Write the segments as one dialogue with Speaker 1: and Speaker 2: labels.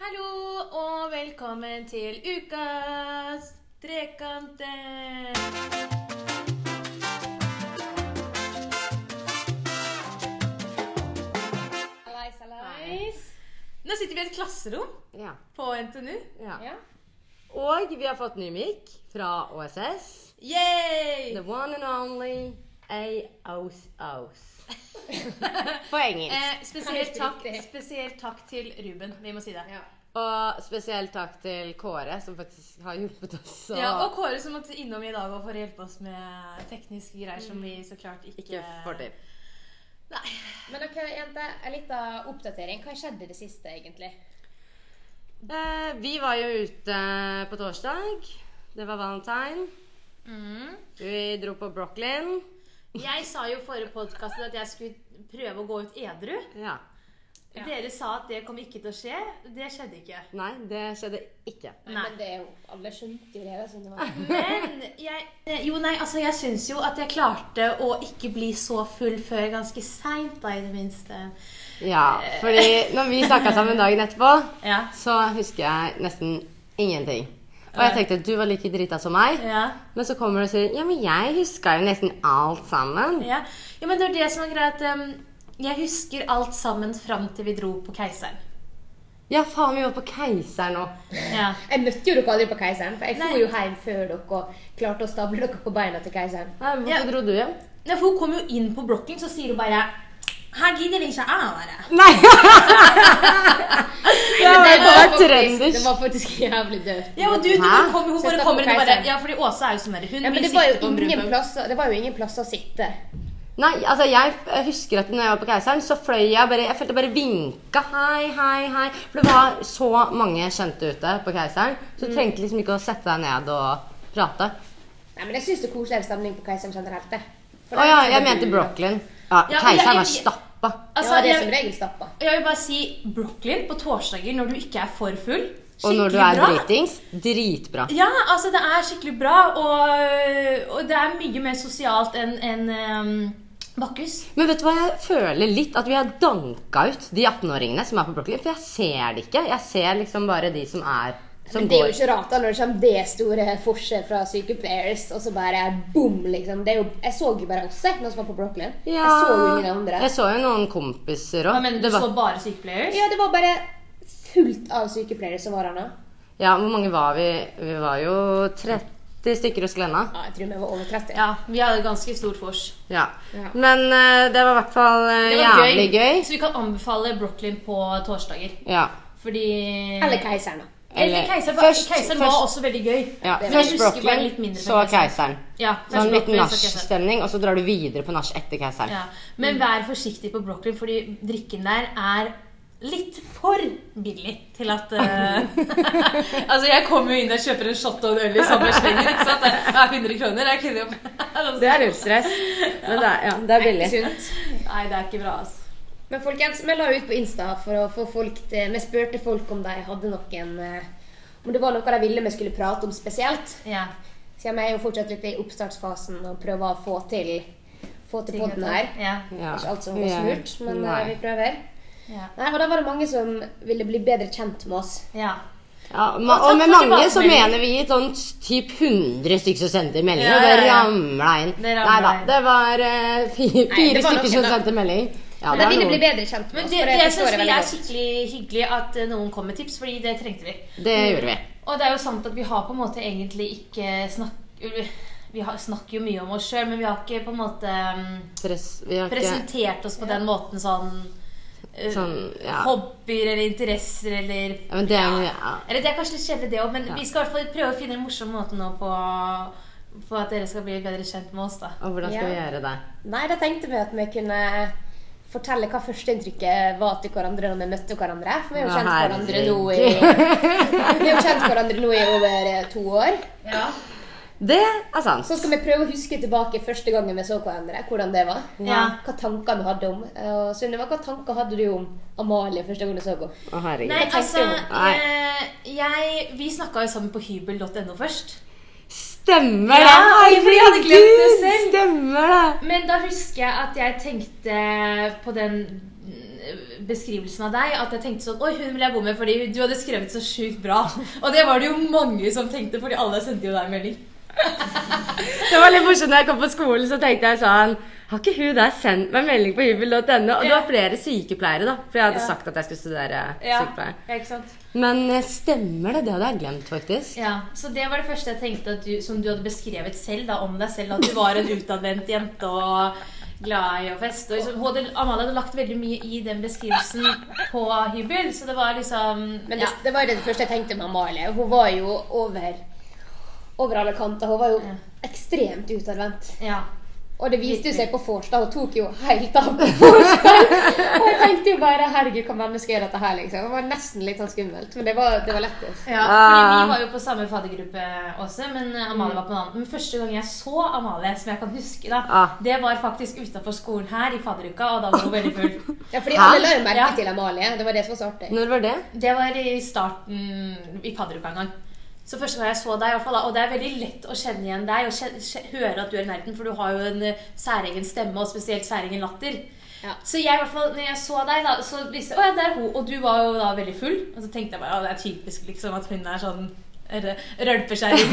Speaker 1: Hallo og velkommen til ukas Trekante.
Speaker 2: Hallais,
Speaker 1: Nice. Nå sitter vi i et klasserom
Speaker 3: Ja,
Speaker 1: på NTNU.
Speaker 3: ja. Og vi har fått ny mic fra OSS. The
Speaker 1: Yay!
Speaker 3: one and only AOS. På engelsk.
Speaker 1: Eh, spesielt,
Speaker 2: Helt
Speaker 1: takk,
Speaker 2: riktig.
Speaker 1: spesielt takk til Ruben. Vi må si det.
Speaker 2: Ja.
Speaker 3: Og spesielt takk til Kåre, som faktisk har hjulpet oss. å
Speaker 1: Ja, og Kåre som måtte innom i dag og for å hjelpe oss med tekniske greier
Speaker 2: Mm.
Speaker 1: som vi så klart ikke,
Speaker 3: ikke får til.
Speaker 1: Nei.
Speaker 2: Men ok, jenter, en liten oppdatering. Hva skjedde i det siste, egentlig?
Speaker 3: Eh, vi var jo ute på torsdag. Det var valentine.
Speaker 1: Mm.
Speaker 3: Vi dro på Brooklyn.
Speaker 1: Jeg sa jo i forrige podkast at jeg skulle prøve å gå ut edru.
Speaker 3: Ja.
Speaker 2: Ja.
Speaker 1: Dere sa at det kom ikke til å skje. Det skjedde ikke.
Speaker 3: Nei, det skjedde ikke.
Speaker 1: Nei.
Speaker 2: Men det er jo, alle skjønte jo det. da, sånn det var.
Speaker 1: Men jeg, jo, nei, altså, jeg syns jo at jeg klarte å ikke bli så full før ganske seint, da, i det minste.
Speaker 3: Ja, fordi når vi snakka sammen dagen etterpå,
Speaker 1: Ja.
Speaker 3: så husker jeg nesten ingenting. Og jeg tenkte du var like drita som meg.
Speaker 1: Ja.
Speaker 3: Men så kommer du og sier ja, men jeg huska jo nesten alt sammen.
Speaker 1: ja. Jo, men det var det som var greit. em, um, Jeg husker alt sammen fram til vi dro på Keiseren.
Speaker 3: Ja, faen, vi var på Keiseren nå.
Speaker 1: Ja.
Speaker 2: Jeg møtte jo dere aldri på Keiseren, for jeg
Speaker 1: Nei.
Speaker 2: dro jo hjem før dere og klarte å stable dere på beina til Keiseren.
Speaker 3: Nei, Hvorfor
Speaker 1: Ja.
Speaker 3: dro du hjem?
Speaker 1: Ja, for hun kom jo inn på blokken, så sier hun bare Her gidder vi ikke å være.
Speaker 3: Nei!
Speaker 2: Men
Speaker 3: det var
Speaker 2: faktisk, det
Speaker 3: trønders.
Speaker 2: var faktisk jævlig dødt.
Speaker 1: Ja, og du, du,
Speaker 3: Hæ?
Speaker 1: kom, hun
Speaker 2: Så jeg
Speaker 1: bare
Speaker 2: stakk
Speaker 1: kommer inn
Speaker 2: på
Speaker 1: og bare
Speaker 2: Keiseren.
Speaker 1: Ja, fordi Åse er jo sånn der. Hun
Speaker 2: Ja, men
Speaker 1: vil
Speaker 2: det var,
Speaker 1: sitte på
Speaker 2: jo
Speaker 1: en
Speaker 2: ingen
Speaker 1: brunpub.
Speaker 2: plass, å- det var jo ingen plass å sitte.
Speaker 3: Nei, altså jeg f- husker at når jeg var på Keiseren, så fløy jeg bare Jeg følte jeg bare vinka. Hei, hei, hei. For det var så mange kjente ute på Keiseren, så
Speaker 2: Mm.
Speaker 3: du trengte liksom ikke å sette deg ned og prate.
Speaker 2: Nei, men jeg syns det er koseligere stemning på Keiseren generelt. det. For
Speaker 3: Å
Speaker 2: det er
Speaker 3: ja,
Speaker 2: ikke
Speaker 3: jeg
Speaker 2: sånn at
Speaker 3: mente
Speaker 2: du-
Speaker 3: Brooklyn. Ja,
Speaker 1: Ja, jeg-
Speaker 3: Keiseren var
Speaker 1: jeg-
Speaker 3: stappa.
Speaker 1: Altså,
Speaker 2: ja, det er
Speaker 1: jeg-
Speaker 2: som regel stappa.
Speaker 1: Jeg vil bare si Brooklyn på torsdager når du ikke er for full.
Speaker 3: Og når du
Speaker 1: skikkelig
Speaker 3: er
Speaker 1: bra.
Speaker 3: dritings, dritbra.
Speaker 1: Ja, altså det er skikkelig bra, og, og det er mye mer sosialt enn enn, ehm, Bakkus.
Speaker 3: Men vet du hva, jeg føler litt at vi har danka ut de 18-åringene som er på Brooklyn. For jeg ser det ikke. Jeg ser liksom bare de som er som
Speaker 2: Men det er jo
Speaker 3: går.
Speaker 2: ikke rart da når det kommer det store forskjell fra sykepleiers, og så bare bom, liksom. Det er jo, jeg så jo bare oss, jeg, når vi var på Brooklyn. Jeg så jo ingen andre.
Speaker 3: Jeg så jo noen kompiser
Speaker 1: Hva
Speaker 3: òg.
Speaker 1: mener du, du så bare sykepleiers?
Speaker 2: Ja, det var bare fullt av sykepleiere som var her nå.
Speaker 3: Ja, hvor mange var vi? Vi var jo 30 stykker hos Glenna.
Speaker 2: Ja, jeg tror vi var over 30.
Speaker 1: Ja, vi hadde ganske stort vors.
Speaker 3: Ja.
Speaker 2: Ja.
Speaker 3: Men eh, det var i hvert fall eh,
Speaker 1: Det var
Speaker 3: jævlig gøy.
Speaker 1: Så vi kan anbefale Brooklyn på torsdager.
Speaker 3: Ja.
Speaker 1: Fordi
Speaker 2: Eller Keiseren, da.
Speaker 1: Eller
Speaker 3: Eller-
Speaker 1: Keiseren. for
Speaker 3: først-
Speaker 1: Keiseren var
Speaker 3: først-
Speaker 1: også veldig gøy.
Speaker 3: ja.
Speaker 1: Men jeg
Speaker 3: Først
Speaker 1: husker bare litt
Speaker 3: Brooklyn,
Speaker 1: mindre
Speaker 3: så
Speaker 1: fra
Speaker 3: Keiseren.
Speaker 1: Ja, først
Speaker 3: Sånn litt
Speaker 1: Brooklyn, så Keiseren.
Speaker 3: nachstemning, og så drar du videre på nach etter Keiseren.
Speaker 1: Ja. Men vær forsiktig på Brooklyn, fordi drikken der er litt for billig til at eh, Altså, jeg kommer jo inn og kjøper en shot og en øl i samme slengen. ikke sant? Det er 100 kroner. Jeg kunne jo Altså,
Speaker 3: Det er null stress. Men det er, ja, det er billig.
Speaker 2: Sunt.
Speaker 1: Nei, det er ikke bra, altså.
Speaker 2: Men folkens, vi la ut på Insta for å få folk til Vi spurte folk om de hadde noen eh, Om det var noe de ville vi skulle prate om spesielt.
Speaker 1: Ja.
Speaker 2: Siden vi er jo fortsatt litt i oppstartsfasen og prøver å få til, få til podden her.
Speaker 1: Ja.
Speaker 3: Ja.
Speaker 2: Ikke alt som går
Speaker 3: Vi er-
Speaker 2: smurt, men eh,
Speaker 3: Nei.
Speaker 2: vi prøver.
Speaker 1: Ja.
Speaker 2: Nei, og da var det mange som ville bli bedre kjent med oss.
Speaker 1: ja.
Speaker 3: Ja, ma
Speaker 1: Og takk
Speaker 3: og
Speaker 1: for
Speaker 3: med mange så
Speaker 1: tilbakemelding.
Speaker 3: mener vi sånn typ 100 stykker som sendte
Speaker 1: Ja,
Speaker 3: meldinger, og det
Speaker 1: ja, ja.
Speaker 3: ramla inn.
Speaker 1: Det ramla
Speaker 3: Nei da,
Speaker 1: inn.
Speaker 3: det var eh, fi- fire
Speaker 2: det var
Speaker 3: stykker
Speaker 2: noen,
Speaker 3: som
Speaker 2: da.
Speaker 3: sendte melding. Ja,
Speaker 2: Men de
Speaker 3: var
Speaker 2: ville
Speaker 3: noen.
Speaker 2: bli bedre kjent med
Speaker 1: Men
Speaker 2: oss.
Speaker 1: det,
Speaker 2: for
Speaker 1: det,
Speaker 2: jeg
Speaker 1: syns
Speaker 2: forstår
Speaker 1: vi
Speaker 2: det veldig
Speaker 1: er
Speaker 2: godt.
Speaker 1: skikkelig hyggelig at eh, noen kom med tips, fordi det trengte vi.
Speaker 3: Det gjorde vi.
Speaker 1: Og det er jo sant at vi har på en måte egentlig ikke snakk... Vi har, snakker jo mye om oss sjøl, men vi har ikke på en måte mm,
Speaker 3: Pres vi har ikke
Speaker 1: presentert oss på den måten sånn, eh,
Speaker 3: sånn Ja.
Speaker 1: Hobbyer eller interesser eller
Speaker 3: ja men det er jo ja.
Speaker 1: Eller det er kanskje litt kjedelig, det òg, men vi skal i hvert fall prøve å finne en morsom måte nå på, på at dere skal bli bedre kjent med oss, da.
Speaker 3: Og hvordan skal vi
Speaker 2: Ja.
Speaker 3: gjøre det?
Speaker 2: Nei, da tenkte vi at vi kunne fortelle hva førsteinntrykket var til hverandre når vi møtte hverandre. For vi har jo kjent
Speaker 3: Å,
Speaker 2: hverandre nå i Vi har jo kjent hverandre nå i over eh, to år.
Speaker 1: Ja.
Speaker 3: Det er sant.
Speaker 2: Så skal vi prøve å huske tilbake første gangen vi så hverandre, hvordan det var.
Speaker 1: Ja.
Speaker 2: Hva tanker vi hadde om. Eh, Og Sunniva, hva tanker hadde du om Amalie første gang du så henne?
Speaker 3: Å,
Speaker 1: Nei,
Speaker 3: herregud.
Speaker 2: tenkte
Speaker 1: altså
Speaker 2: jo-
Speaker 3: Nei.
Speaker 1: eh, jeg, Vi snakka jo sammen på hybel.no først.
Speaker 3: Stemmer det!
Speaker 1: Ja, fordi vi hadde glemt det
Speaker 3: Herregud, Stemmer det!
Speaker 1: Men da husker jeg at jeg tenkte på den mm, beskrivelsen av deg at jeg tenkte sånn Oi, hun vil jeg bo med fordi du hadde skrevet så sjukt bra. Og det var det jo mange som tenkte, fordi alle sendte jo deg en melding.
Speaker 3: Det var litt morsomt når jeg kom på skolen, så tenkte jeg sånn Har ikke hun der sendt meg melding på hybel.no? Og det var flere sykepleiere, da. For jeg hadde
Speaker 1: Ja.
Speaker 3: sagt at jeg skulle studere
Speaker 1: Ja,
Speaker 3: sykepleier.
Speaker 1: ikke sant?
Speaker 3: Men eh, stemmer det? Det hadde jeg glemt, faktisk.
Speaker 1: Ja, Så det var det første jeg tenkte at du, som du hadde beskrevet selv da, om deg selv. At du var en utadvendt jente og glad i å feste. Og liksom, hun hadde, Amalie hadde lagt veldig mye i den beskrivelsen på hybel, så det var liksom
Speaker 2: Men det,
Speaker 1: ja.
Speaker 2: det var jo det første jeg tenkte med Amalie. Hun var jo over, over alle kanter. Hun var jo
Speaker 1: Ja.
Speaker 2: ekstremt utadvendt.
Speaker 1: ja.
Speaker 2: Og det viste jo seg på vors, da. Hun tok jo helt av på vors. Og jeg tenkte jo bare 'herregud, kan mennesker gjøre dette her', liksom. Det var nesten litt sånn skummelt, men det var, det var lettest.
Speaker 1: Ja, fordi vi var jo på samme faddergruppe også, men eh, Amalie var på en annen. Men første gang jeg så Amalie, som jeg kan huske, da,
Speaker 3: Ah.
Speaker 1: det var faktisk utafor skolen her i fadderuka, og da var hun veldig full.
Speaker 2: Ja, fordi
Speaker 3: Hæ?
Speaker 2: alle la jo merke
Speaker 1: Ja.
Speaker 2: til Amalie. Det var det som var så artig.
Speaker 3: Når var det?
Speaker 1: Det var i starten i fadderuka en gang. Så første gang jeg så deg, i hvert fall, da, og det er veldig lett å kjenne igjen deg og kje- kje- høre at du er i nærheten, for du har jo en eh, særegen stemme, og spesielt særegen latter.
Speaker 2: Ja.
Speaker 1: Så jeg i hvert fall, når jeg så deg, da, så visste jeg, å ja, det er hun. Og du var jo da veldig full. Og så tenkte jeg bare, ja, det er typisk liksom at hun er sånn rø- rølpeskjæring.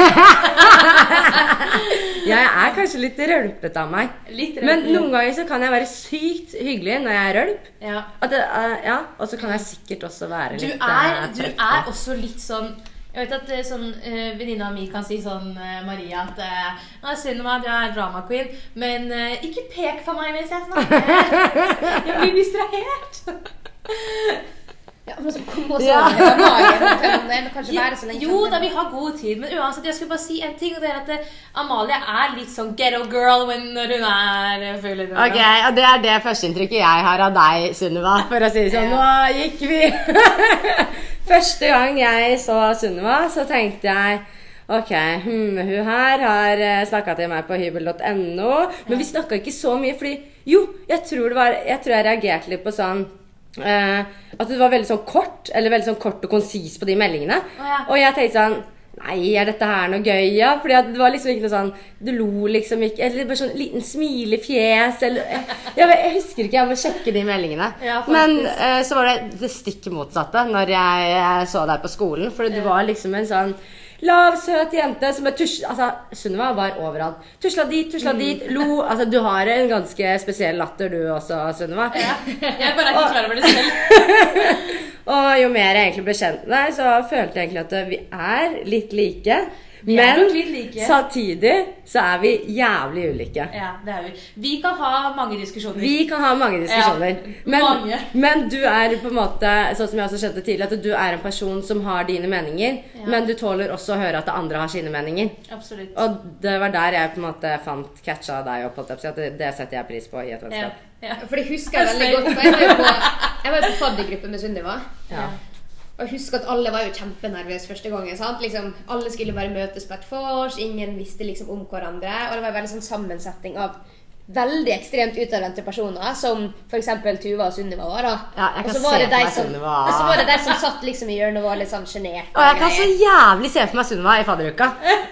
Speaker 3: Ja, jeg er kanskje litt rølpete av meg.
Speaker 1: Litt
Speaker 3: Men
Speaker 1: rølpeskjæring.
Speaker 3: noen ganger så kan jeg være sykt hyggelig når jeg er rølp.
Speaker 1: Ja.
Speaker 3: At det, eh, ja, Og så kan jeg sikkert også være
Speaker 1: Du
Speaker 3: litt
Speaker 1: er,
Speaker 3: eh,
Speaker 1: du
Speaker 3: frekk, da.
Speaker 1: er også litt sånn jeg vet at eh, sånn, eh, Venninna mi kan si sånn eh, Maria at eh, «Å, 'Synd om meg, du er drama queen', men eh, 'ikke pek på meg mens jeg snakker'. Jeg blir distrahert.
Speaker 2: Ja, men så kom også
Speaker 3: Ja.
Speaker 2: Amalie rundt henne. men Kanskje være så lenge
Speaker 1: Jo da, vi har god tid, men uansett, jeg skulle bare si en ting. Og det er at eh, Amalie er litt sånn ghetto girl when- når hun er eh, full. eller noe.
Speaker 3: Ok, og Det er det førsteinntrykket jeg har av deg, Sunniva. For å si det sånn, nå gikk vi Første gang jeg så Sunniva, så tenkte jeg Ok, hmm, hun her har snakka til meg på hybel.no. Men vi snakka ikke så mye, fordi Jo, jeg tror, det var, jeg, tror jeg reagerte litt på sånn eh, At det var veldig sånn kort, eller veldig sånn kort og konsis på de meldingene.
Speaker 1: ja.
Speaker 3: Og jeg tenkte sånn Nei, er dette her noe gøy, ja? Fordi at det var liksom ikke noe sånn Du lo liksom ikke Eller bare sånn liten smilefjes eller jeg, vet- jeg husker ikke, jeg må sjekke de meldingene.
Speaker 1: Ja, faktisk.
Speaker 3: Men eh, så var det det stikk motsatte når jeg eh, så deg på skolen. For du var liksom en sånn lav, søt jente som bare tusla Altså, Sunniva var overalt. Tusla dit, tusla
Speaker 1: Mm.
Speaker 3: dit, lo Altså, du har en ganske spesiell latter du også, Sunniva.
Speaker 1: Jeg bare er ikke klar over det selv.
Speaker 3: Og jo mer jeg egentlig ble kjent med deg, så følte jeg egentlig at vi er litt like.
Speaker 1: er
Speaker 3: Men
Speaker 1: nok litt like.
Speaker 3: samtidig så er vi jævlig ulike.
Speaker 1: Ja, det er vi. Vi kan ha mange diskusjoner.
Speaker 3: Vi kan ha mange diskusjoner.
Speaker 1: Ja,
Speaker 3: Men,
Speaker 1: mange.
Speaker 3: men du er på en måte, sånn som jeg også skjønte tidligere, at du er en person som har dine meninger.
Speaker 1: Ja.
Speaker 3: Men du tåler også å høre at det andre har sine meninger.
Speaker 1: Absolutt.
Speaker 3: Og det var der jeg på en måte fant catcha deg opp. holdt jeg på å si, At det, det setter jeg pris på i et
Speaker 1: Ja.
Speaker 3: vennskap.
Speaker 1: Ja.
Speaker 2: For det husker jeg veldig godt. For jeg var jo på, jeg var jo på faddergruppe med Sunniva.
Speaker 3: Ja.
Speaker 2: Og jeg husker at alle var jo kjempenervøse første gangen. sant? Liksom, alle skulle bare møtes på et vors, ingen visste liksom om hverandre. Og det var en veldig sånn sammensetning av veldig ekstremt utadvendte personer, som f.eks. Tuva og Sunniva var. da.
Speaker 3: Ja, jeg
Speaker 2: og
Speaker 3: kan
Speaker 2: så var
Speaker 3: se for
Speaker 2: det de
Speaker 3: meg
Speaker 2: som,
Speaker 3: Sunniva.
Speaker 2: og så var det de som satt liksom i hjørnet og var litt sånn sjenerte.
Speaker 3: Og jeg kan så jævlig se for meg Sunniva i fadderuka.